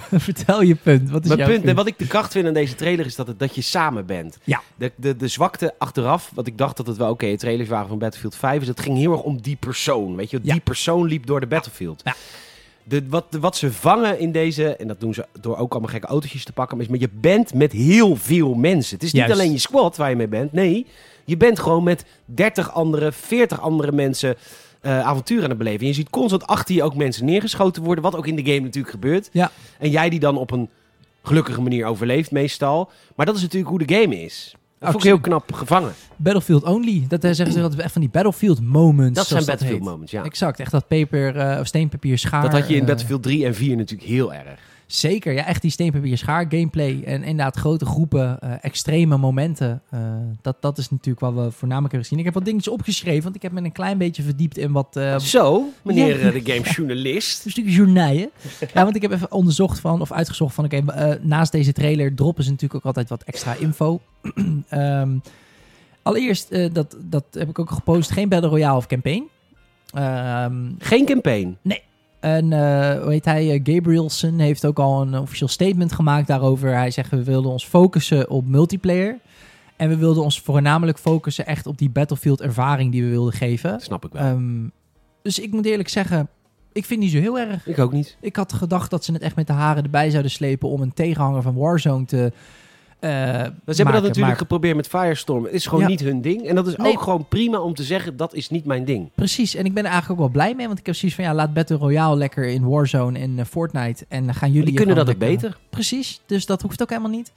A: eh,
B: Vertel je punt. Wat is
A: Mijn
B: jouw
A: punt,
B: punt?
A: en wat ik de kracht vind aan deze trailer is dat, het, dat je samen bent.
B: Ja.
A: De, de, de zwakte achteraf, wat ik dacht dat het wel oké trailers waren van Battlefield 5, is het ging heel erg om die persoon. Weet je, die
B: Ja.
A: persoon liep door de Battlefield.
B: Ja.
A: De, wat, de- wat ze vangen in deze, en dat doen ze door ook allemaal gekke autootjes te pakken, maar is, maar je bent met heel veel mensen. Het is niet
B: Juist.
A: alleen je squad waar je mee bent, nee. Je bent gewoon met 30 andere, 40 andere mensen eh avontuur aan het beleven. En je ziet constant achter je ook mensen neergeschoten worden, wat ook in de game natuurlijk gebeurt.
B: Ja.
A: En jij die dan op een gelukkige manier overleeft meestal. Maar dat is natuurlijk hoe de game is. Dat vond ik heel knap gevangen.
B: Battlefield Only. Dat eh, zeggen ze dat echt van die Battlefield moments.
A: Dat zijn
B: zoals
A: Battlefield
B: heet.
A: moments, ja.
B: Exact, echt dat paper, eh, of steenpapier schaar.
A: Dat had je in
B: eh,
A: Battlefield 3 en 4 natuurlijk heel erg.
B: Zeker, ja, echt die steenpapier schaar gameplay en inderdaad grote groepen, eh, extreme momenten. eh, dat, dat is natuurlijk wat we voornamelijk hebben gezien. Ik heb wat dingetjes opgeschreven, want ik heb me een klein beetje verdiept in wat... eh,
A: Zo, meneer
B: Ja.
A: eh, de gamejournalist.
B: een stukje journaille. Ja, want ik heb even onderzocht van, of uitgezocht van, oké, eh, naast deze trailer droppen ze natuurlijk ook altijd wat extra info. Ehm, allereerst, eh, dat, dat heb ik ook gepost, geen Battle Royale of campaign. Ehm,
A: Geen campaign.
B: en eh, hoe heet hij? eh, Gabrielson heeft ook al een officieel statement gemaakt daarover. Hij zegt: We wilden ons focussen op multiplayer. En we wilden ons voornamelijk focussen echt op die Battlefield-ervaring die we wilden geven.
A: Snap ik wel.
B: Ehm, dus ik moet eerlijk zeggen, ik vind die zo heel erg.
A: ik ook niet.
B: Ik had gedacht dat ze het echt met de haren erbij zouden slepen om een tegenhanger van Warzone te. eh
A: Ze hebben
B: maken,
A: dat natuurlijk
B: maar-
A: geprobeerd met Firestorm. Het is gewoon
B: Ja.
A: niet hun ding. En dat is
B: Nee.
A: ook gewoon prima om te zeggen, dat is niet mijn ding.
B: Precies, en ik ben er eigenlijk ook wel blij mee, want ik heb zoiets van ja, laat Battle Royale lekker in Warzone en eh, Fortnite en dan gaan jullie.
A: Die kunnen
B: gewoon
A: dat ook
B: lekker-
A: beter.
B: Precies, dus dat hoeft ook helemaal niet.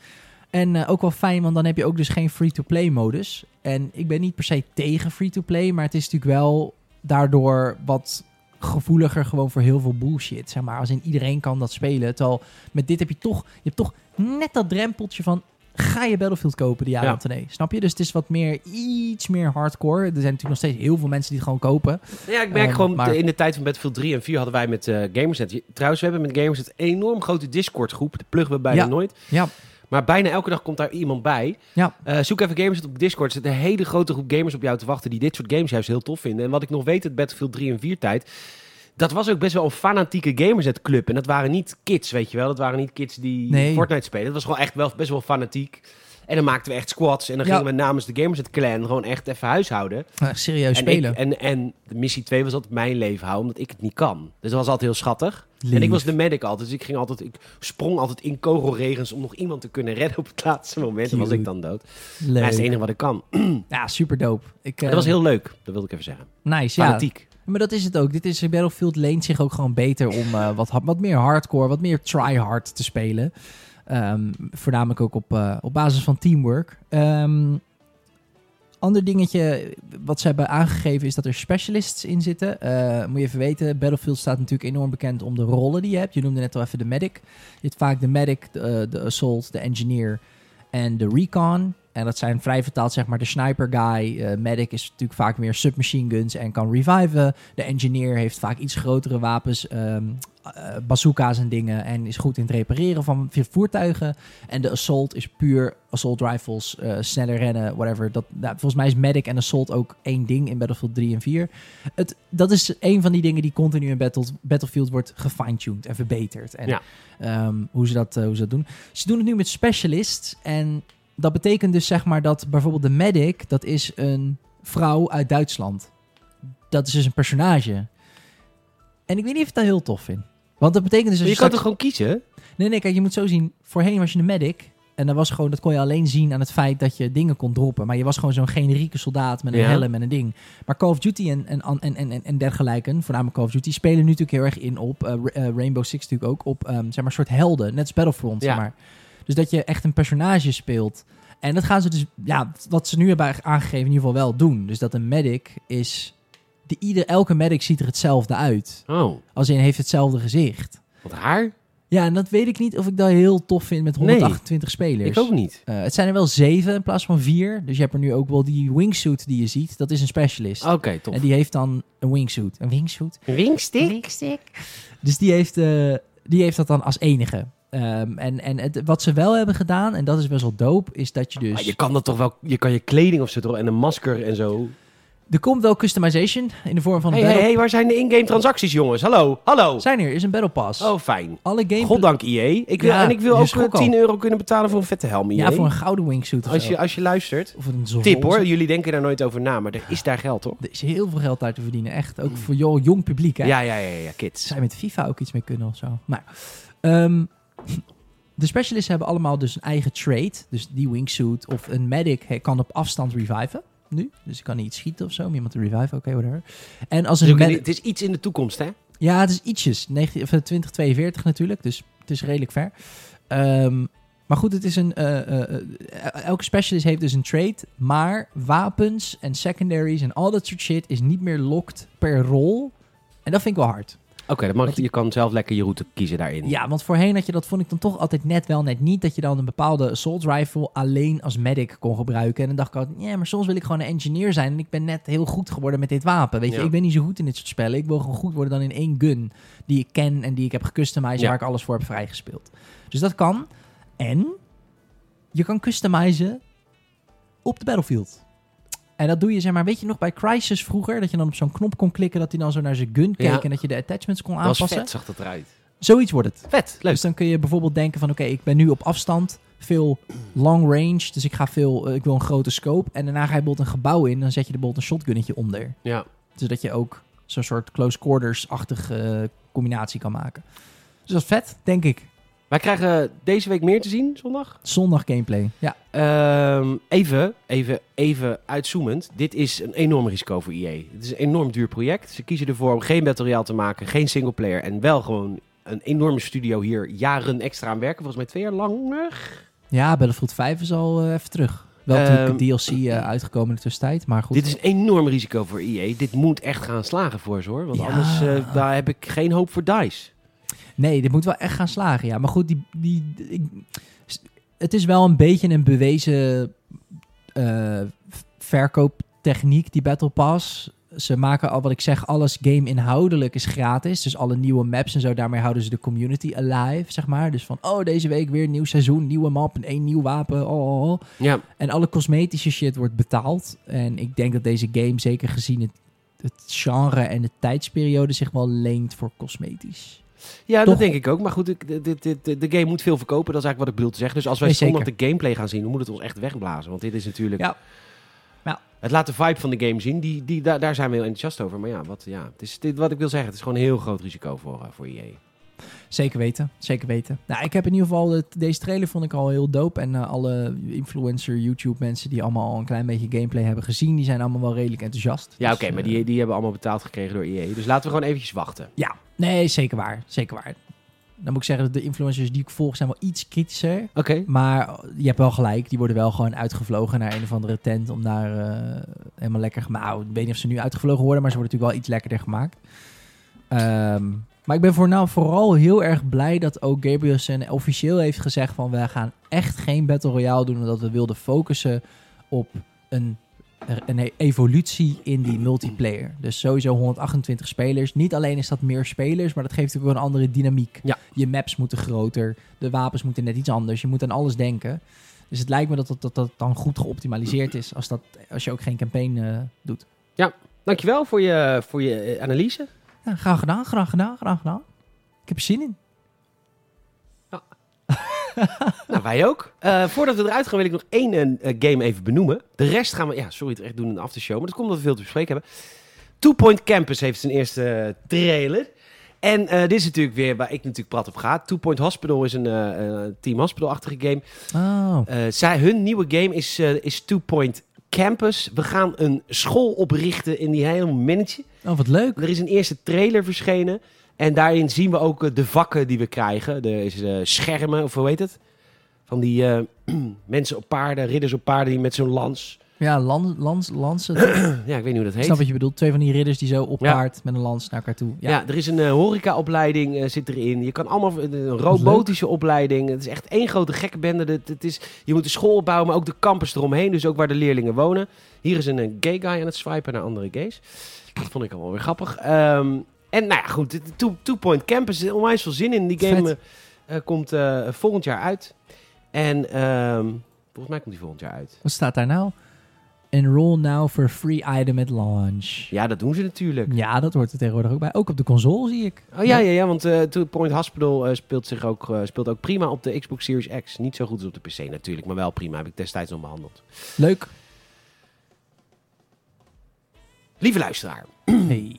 B: En eh, ook wel fijn, want dan heb je ook dus geen free-to-play modus. En ik ben niet per se tegen free-to-play, maar het is natuurlijk wel daardoor wat gevoeliger gewoon voor heel veel bullshit, zeg maar. Als in iedereen kan dat spelen. Terwijl met dit heb je toch, je hebt toch net dat drempeltje van... Ga je Battlefield kopen, die ja,
A: Ja.
B: of nee? Snap je? Dus het is wat meer, iets meer hardcore. Er zijn natuurlijk nog steeds heel veel mensen die het gewoon kopen.
A: Nou Ja, ik merk
B: Ehm,
A: gewoon,
B: maar-
A: in de tijd van Battlefield 3 en 4 hadden wij met eh Gamerset... je- Trouwens, we hebben met Gamerset een enorm grote Discord-groep. Dat pluggen we bijna
B: Ja.
A: nooit.
B: Ja.
A: Maar bijna elke dag komt daar iemand bij.
B: Ja.
A: Eh, zoek even Gamerset op Discord. Er zit een hele grote groep gamers op jou te wachten... die dit soort games juist heel tof vinden. En wat ik nog weet uit Battlefield 3 en 4 tijd... Dat was ook best wel een fanatieke Gamerset-club. En dat waren niet kids, weet je wel. Dat waren niet kids die
B: Nee.
A: Fortnite spelen. Dat was gewoon echt wel, best wel fanatiek. En dan maakten we echt squads. En dan
B: Ja.
A: gingen we namens de Gamerset-clan gewoon echt even huishouden.
B: Eh, serieus
A: En,
B: spelen.
A: ik- en, en de missie 2 was altijd mijn leven houden, omdat ik het niet kan. Dus dat was altijd heel schattig. En
B: Lief.
A: ik was de medic altijd, dus ik, ging altijd, ik sprong altijd in kogelregens om nog iemand te kunnen redden op het laatste moment. Dan was
B: Cute.
A: ik dan dood. Maar dat is het
B: Leuk.
A: enige wat ik kan.
B: Ja, super dope. Ik, eh,
A: dat was heel leuk, dat wilde ik even zeggen.
B: nice. Ja, Dus
A: Fanatiek.
B: Maar dat is het ook. Dit is Battlefield leent zich ook gewoon beter om eh, wat, ha- wat meer hardcore, wat meer tryhard te spelen. Ehm, voornamelijk ook op, eh, op basis van teamwork. Ehm, ander dingetje wat ze hebben aangegeven is dat er specialists in zitten. Eh, moet je even weten, Battlefield staat natuurlijk enorm bekend om de rollen die je hebt. Je noemde net al even de medic. Je hebt vaak de medic, de, eh, de assault, de engineer en de recon. En dat zijn vrij vertaald zeg maar de sniper guy. Eh, medic is natuurlijk vaak meer submachine guns en kan reviven. De engineer heeft vaak iets grotere wapens, ehm, eh, bazooka's en dingen. En is goed in het repareren van voertuigen. En de assault is puur assault rifles, eh, sneller rennen, whatever. Dat, nou, volgens mij is medic en assault ook één ding in Battlefield 3 en 4. Het, dat is een van die dingen die continu in Battle- Battlefield wordt gefine-tuned en verbeterd. En
A: Ja.
B: ehm, hoe, ze dat, eh, hoe ze dat doen. Ze doen het nu met specialists. En dat betekent dus zeg maar dat bijvoorbeeld de medic, dat is een vrouw uit Duitsland. Dat is dus een personage. En ik weet niet of ik dat heel tof vind. Want dat betekent dus...
A: Maar
B: als
A: je kan
B: straks-
A: toch gewoon kiezen?
B: Nee, nee, kijk, je moet zo zien. Voorheen was je een medic. En dat, was gewoon, dat kon je alleen zien aan het feit dat je dingen kon droppen. Maar je was gewoon zo'n generieke soldaat met een
A: Ja.
B: helm en een ding. Maar Call of Duty en, en, en, en, en, en dergelijke, voornamelijk Call of Duty, spelen nu natuurlijk heel erg in op eh, Ra- eh, Rainbow Six natuurlijk ook. Op ehm, zeg maar soort helden, net als Battlefront.
A: Ja.
B: Zeg maar. Dus dat je echt een personage speelt. En dat gaan ze dus, ja, wat ze nu hebben aangegeven, in ieder geval wel doen. Dus dat een medic is. De, ieder, elke medic ziet er hetzelfde uit.
A: Oh,
B: Als in heeft hetzelfde gezicht.
A: wat haar?
B: Ja, en dat weet ik niet of ik dat heel tof vind met 128 spelers.
A: Ik ook niet.
B: Eh, het zijn er wel zeven in plaats van vier. Dus je hebt er nu ook wel die wingsuit die je ziet. Dat is een specialist.
A: Oké, Ah, tof.
B: En die heeft dan een wingsuit. Een wingsuit?
A: Wingstick?
B: Dus die heeft, eh, die heeft dat dan als enige. Ehm, en en het, wat ze wel hebben gedaan, en dat is best wel dope, is dat je dus...
A: Maar Ah, je kan dat toch wel, je kan je kleding of zo toch, en een masker en zo.
B: Er komt wel customization in de vorm van een
A: hey, hey,
B: battle...
A: hey, waar zijn de in-game transacties, jongens? Hallo, hallo.
B: Zijn er, is een battle pass.
A: Oh, fijn.
B: Alle gameplay...
A: Goddank IE. Ik wil,
B: Ja,
A: en ik wil
B: je
A: ook
B: schrok
A: eh,
B: al.
A: 10 euro kunnen betalen voor een vette helm. IE.
B: Ja, voor een gouden wingsuit of
A: als
B: zo.
A: je, als je luistert.
B: Of een zon-
A: Tip hoor, jullie denken daar nooit over na, maar er is daar geld hoor.
B: Er is heel veel geld uit te verdienen, echt.
A: Mm.
B: Ook voor jou, jong publiek, hè.
A: Ja, ja, ja, ja, kids.
B: zij met FIFA ook iets mee kunnen of zo. Maar ehm, de specialisten hebben allemaal dus een eigen trade. Dus die wingsuit of een medic hij kan op afstand reviven. Nu. Dus ik kan niet schieten of zo. Om iemand te reviven. Oké, whatever. En als
A: Dus
B: een
A: ook in-
B: medic...
A: het is iets in de toekomst, hè?
B: Ja, het is ietsjes. 19, of, eh, 2042 natuurlijk, dus het is redelijk ver. Ehm, maar goed, het is een, eh, eh, eh, elke specialist heeft dus een trade. Maar wapens en secondaries en al dat soort shit is niet meer locked per rol. En dat vind ik wel hard.
A: Oké, dat mag,
B: Want-
A: je kan zelf lekker je route kiezen daarin.
B: Ja, want voorheen had je dat, vond ik dan toch altijd net wel, net niet. Dat je dan een bepaalde assault rifle alleen als medic kon gebruiken. En dan dacht ik altijd, ja, maar soms wil ik gewoon een engineer zijn. En ik ben net heel goed geworden met dit wapen. Weet je,
A: Ja.
B: ik ben niet zo goed in dit soort spellen. Ik wil gewoon goed worden dan in één gun die ik ken en die ik heb gecustomized.
A: Ja.
B: Waar ik alles voor heb vrijgespeeld. Dus dat kan. En je kan customizen op de battlefield. En dat doe je, zeg maar, weet je nog bij Crisis vroeger? Dat je dan op zo'n knop kon klikken, dat hij dan zo naar zijn gun keek
A: Ja.
B: en dat je de attachments kon
A: Dat was
B: aanpassen.
A: vet, zag dat eruit.
B: Zoiets wordt het.
A: Vet, leuk.
B: Dus dan kun je bijvoorbeeld denken van, oké, ik ben nu op afstand, veel long range, dus ik ga veel, eh, ik wil een grote scope. En daarna ga je bijvoorbeeld een gebouw in, dan zet je er bijvoorbeeld een shotgunnetje onder.
A: Ja.
B: Zodat je ook zo'n soort close quarters-achtige eh, combinatie kan maken. Dus dat is vet, denk ik.
A: Wij krijgen deze week meer te zien, zondag.
B: Zondag gameplay. Ja,
A: Ehm, even, even, even uitzoomend. Dit is een enorm risico voor EA. Het is een enorm duur project. Ze kiezen ervoor om geen Battle Royale te maken, geen singleplayer. En wel gewoon een enorme studio hier jaren extra aan werken. Volgens mij twee jaar langer.
B: ja Battlefield 5 is al eh, even terug. Wel natuurlijk de DLC eh, uitgekomen in de tussentijd, maar goed.
A: Ehm, Dit is een enorm risico voor EA. Dit moet echt gaan slagen voor ze hoor. Want
B: Ja.
A: anders eh, daar heb ik geen hoop voor DICE.
B: Nee, dit moet wel echt gaan slagen, ja. Maar goed, die, die, ik- s- het is wel een beetje een bewezen eh, v- verkooptechniek, die Battle Pass. Ze maken al, wat ik zeg, alles game-inhoudelijk is gratis. Dus alle nieuwe maps en zo, daarmee houden ze de community alive, zeg maar. Dus van, oh, deze week weer een nieuw seizoen, nieuwe map en één nieuw wapen. Oh, oh, oh.
A: Ja,
B: En alle cosmetische shit wordt betaald. En ik denk dat deze game, zeker gezien het, het genre en de tijdsperiode, zich wel leent voor cosmetisch.
A: ja
B: Toch?
A: dat denk ik ook. Maar goed, ik- dit, dit, dit- de game moet veel verkopen. Dat is eigenlijk wat ik bedoel te zeggen. Dus als wij
B: Nee,
A: zondag de gameplay gaan zien, dan moet het ons echt wegblazen. Want dit is natuurlijk...
B: Ja. Ja.
A: Het laat de vibe van de game zien. Die, die, daar, daar zijn we heel enthousiast over. Maar ja, wat, ja het is, dit, wat ik wil zeggen. Het is gewoon een heel groot risico voor, eh, voor EA.
B: Zeker weten, zeker weten. Nou, ik heb in ieder geval, het- deze trailer vond ik al heel dope. En eh, alle influencer, YouTube mensen die allemaal al een klein beetje gameplay hebben gezien, die zijn allemaal wel redelijk enthousiast.
A: Ja, oké.
B: Dus, eh,
A: maar die, die hebben allemaal betaald gekregen door EA. Dus laten we gewoon eventjes wachten.
B: Ja, nee, zeker waar, zeker waar. Dan moet ik zeggen dat de influencers die ik volg zijn wel iets kritischer.
A: Oké.
B: Maar je hebt wel gelijk, die worden wel gewoon uitgevlogen naar een of andere tent om daar eh, helemaal lekker gemaakt. Nou, ik weet niet of ze nu uitgevlogen worden, maar ze worden natuurlijk wel iets lekkerder gemaakt. Ehm, maar ik ben voor nou vooral heel erg blij dat ook Gabrielsen officieel heeft gezegd van we gaan echt geen Battle Royale doen, omdat we wilden focussen op een, een evolutie in die multiplayer. Dus sowieso 128 spelers. Niet alleen is dat meer spelers, maar dat geeft ook wel een andere dynamiek.
A: Ja.
B: Je maps moeten groter, de wapens moeten net iets anders. Je moet aan alles denken. Dus het lijkt me dat dat, dat, dat dan goed geoptimaliseerd is als, dat, als je ook geen campaign eh, doet.
A: Dankjewel voor je, voor je eh, analyse.
B: Ja, graag gedaan, graag gedaan, graag gedaan. Ik heb er zin in.
A: Nou, wij ook. Eh, voordat we eruit gaan, wil ik nog één eh, game even benoemen. De rest gaan we, ja, sorry, het echt doen in de aftershow. Maar dat komt omdat we veel te bespreken hebben. Two Point Campus heeft zijn eerste eh, trailer. En eh, dit is natuurlijk weer waar ik natuurlijk prat op ga. Two Point Hospital is een eh, eh, Team Hospital-achtige game.
B: Oh.
A: Eh, zij, hun nieuwe game is, eh, is Two Point Campus. We gaan een school oprichten in die hele minnetje.
B: oh, wat leuk.
A: Er is een eerste trailer verschenen. En daarin zien we ook eh, de vakken die we krijgen. Er is eh, schermen, of hoe heet het? Van die eh, mensen op paarden, ridders op paarden die met zo'n lans.
B: Ja, lans, lans, lansen.
A: Ja, ik weet niet hoe dat
B: Ik
A: heet.
B: snap wat je bedoelt. Twee van die ridders die zo op
A: Ja.
B: paard met een lans naar elkaar toe.
A: ja.
B: Ja.
A: er is een eh, horecaopleiding eh, zit erin. Je kan allemaal eh, een robotische opleiding. Het is echt één grote gekke bende. Het, het is, je moet de school opbouwen, maar ook de campus eromheen. Dus ook waar de leerlingen wonen. Hier is een, eh, gay guy aan het swipen naar andere gays. Dat vond ik allemaal weer grappig. Ehm, en nou ja, goed. de Two, Two Point Campus, er is onwijs veel zin in. Die
B: Vet.
A: game eh, eh, komt eh, volgend jaar uit. En ehm, volgens mij komt die volgend jaar uit.
B: Wat staat daar nou? Enroll now for free item at launch.
A: Ja, dat doen ze natuurlijk.
B: Ja, dat hoort er tegenwoordig ook bij. Ook op de console zie ik.
A: Oh ja, ja, ja want eh Two Point Hospital eh, speelt, zich ook, eh, speelt ook prima op de Xbox Series X. Niet zo goed als op de PC natuurlijk, maar wel prima. Heb ik destijds nog behandeld.
B: Leuk.
A: Lieve luisteraar,
B: Hey.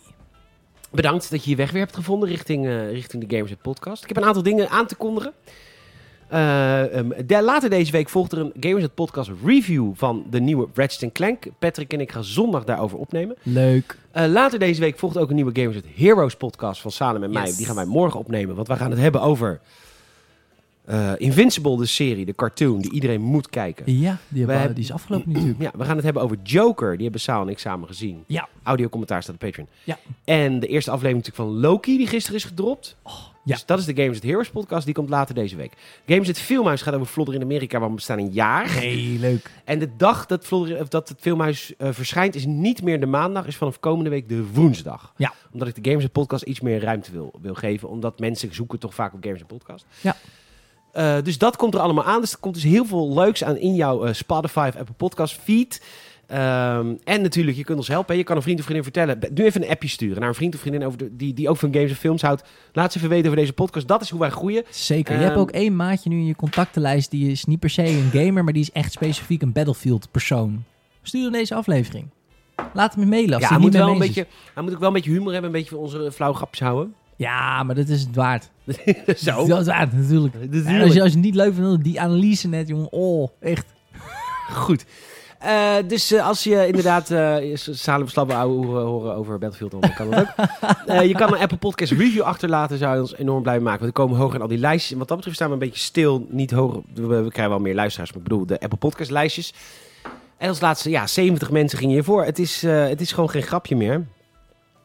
A: bedankt dat je je weg weer hebt gevonden richting, eh, richting de Gamers Net Podcast. Ik heb een aantal dingen aan te kondigen. Eh, ehm, de- later deze week volgt er een Gamers Net Podcast review van de nieuwe Ratchet Clank. Patrick en ik gaan zondag daarover opnemen.
B: Leuk.
A: Eh, later deze week volgt ook een nieuwe Gamers Net Heroes podcast van Salem en mij.
B: Yes.
A: Die gaan wij morgen opnemen, want wij gaan het hebben over eh, Invincible, de serie, de cartoon die iedereen moet kijken.
B: Ja, die, hebben-
A: hebben-
B: die is afgelopen natuurlijk.
A: Ja, we gaan het hebben over Joker. Die hebben Saal en ik samen gezien.
B: Ja.
A: Audio commentaar staat op Patreon.
B: Ja.
A: En de eerste aflevering natuurlijk van Loki, die gisteren is gedropt.
B: Oh, ja.
A: Dus dat is de Games at Heroes podcast. Die komt later deze week. Games at Filmhuis gaat over Vlodder in Amerika, waar we bestaan een jaar.
B: Hey, leuk.
A: En de dag dat, Vlodder, of dat het filmhuis eh, verschijnt is niet meer de maandag, is vanaf komende week de woensdag.
B: Ja.
A: Omdat ik de Games en Podcast iets meer ruimte wil, wil geven, omdat mensen zoeken toch vaak op Games en Podcast.
B: Ja.
A: Eh, dus dat komt er allemaal aan. Dus er komt dus heel veel leuks aan in jouw eh, Spotify of Apple Podcast feed. Ehm, en natuurlijk, je kunt ons helpen. Je kan een vriend of vriendin vertellen. Be- Nu even een appje sturen naar een vriend of vriendin over de- die, die ook van games en films houdt. Laat ze even weten over deze podcast. Dat is hoe wij groeien.
B: Zeker.
A: Ehm,
B: je hebt ook één maatje nu in je contactenlijst. Die is niet per se een gamer, maar die is echt specifiek een Battlefield persoon. Stuur hem deze aflevering. Laat hem mailen als
A: ja,
B: hij
A: hij
B: er
A: moet,
B: niet
A: wel
B: mee
A: een
B: bezig is.
A: beetje, hij moet ook wel een beetje humor hebben. Een beetje voor onze flauwe grapjes houden.
B: Ja, maar dat is het waard.
A: Zo.
B: Dat is waard, natuurlijk. En als, je, als je het niet leuk vindt, die analyse net, jongen. Oh, echt.
A: Goed. Eh, dus eh, als je inderdaad eh Salem slappe ouwe hoeren horen over Battlefield, dan kan dat ook. Eh, je kan een Apple Podcast review achterlaten, zou je ons enorm blij maken. Want we komen hoger in al die lijstjes. En wat dat betreft staan we een beetje stil, niet hoger. We, we krijgen wel meer luisteraars, maar ik bedoel de Apple Podcast lijstjes. En als laatste, ja, 70 mensen gingen hiervoor. Het is, eh, het is gewoon geen grapje meer. Eh,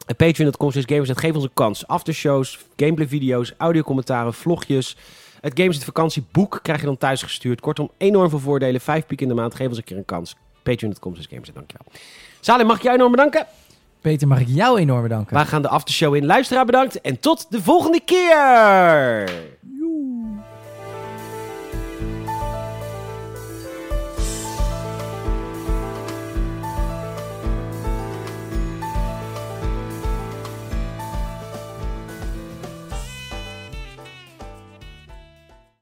A: En Patreon.com slash gamers, dat geeft ons een kans. Aftershows, gameplay video's, audiocommentaren, vlogjes. Het Games in vakantieboek krijg je dan thuis gestuurd. Kortom, enorm veel voordelen. Vijf piek in de maand. Geef ons een keer een kans. Patreon.com slash gamers, dankjewel. Salim, mag ik jou enorm bedanken?
B: Peter, mag ik jou enorm bedanken.
A: Wij gaan de aftershow in. Luisteraar bedankt en tot de volgende keer!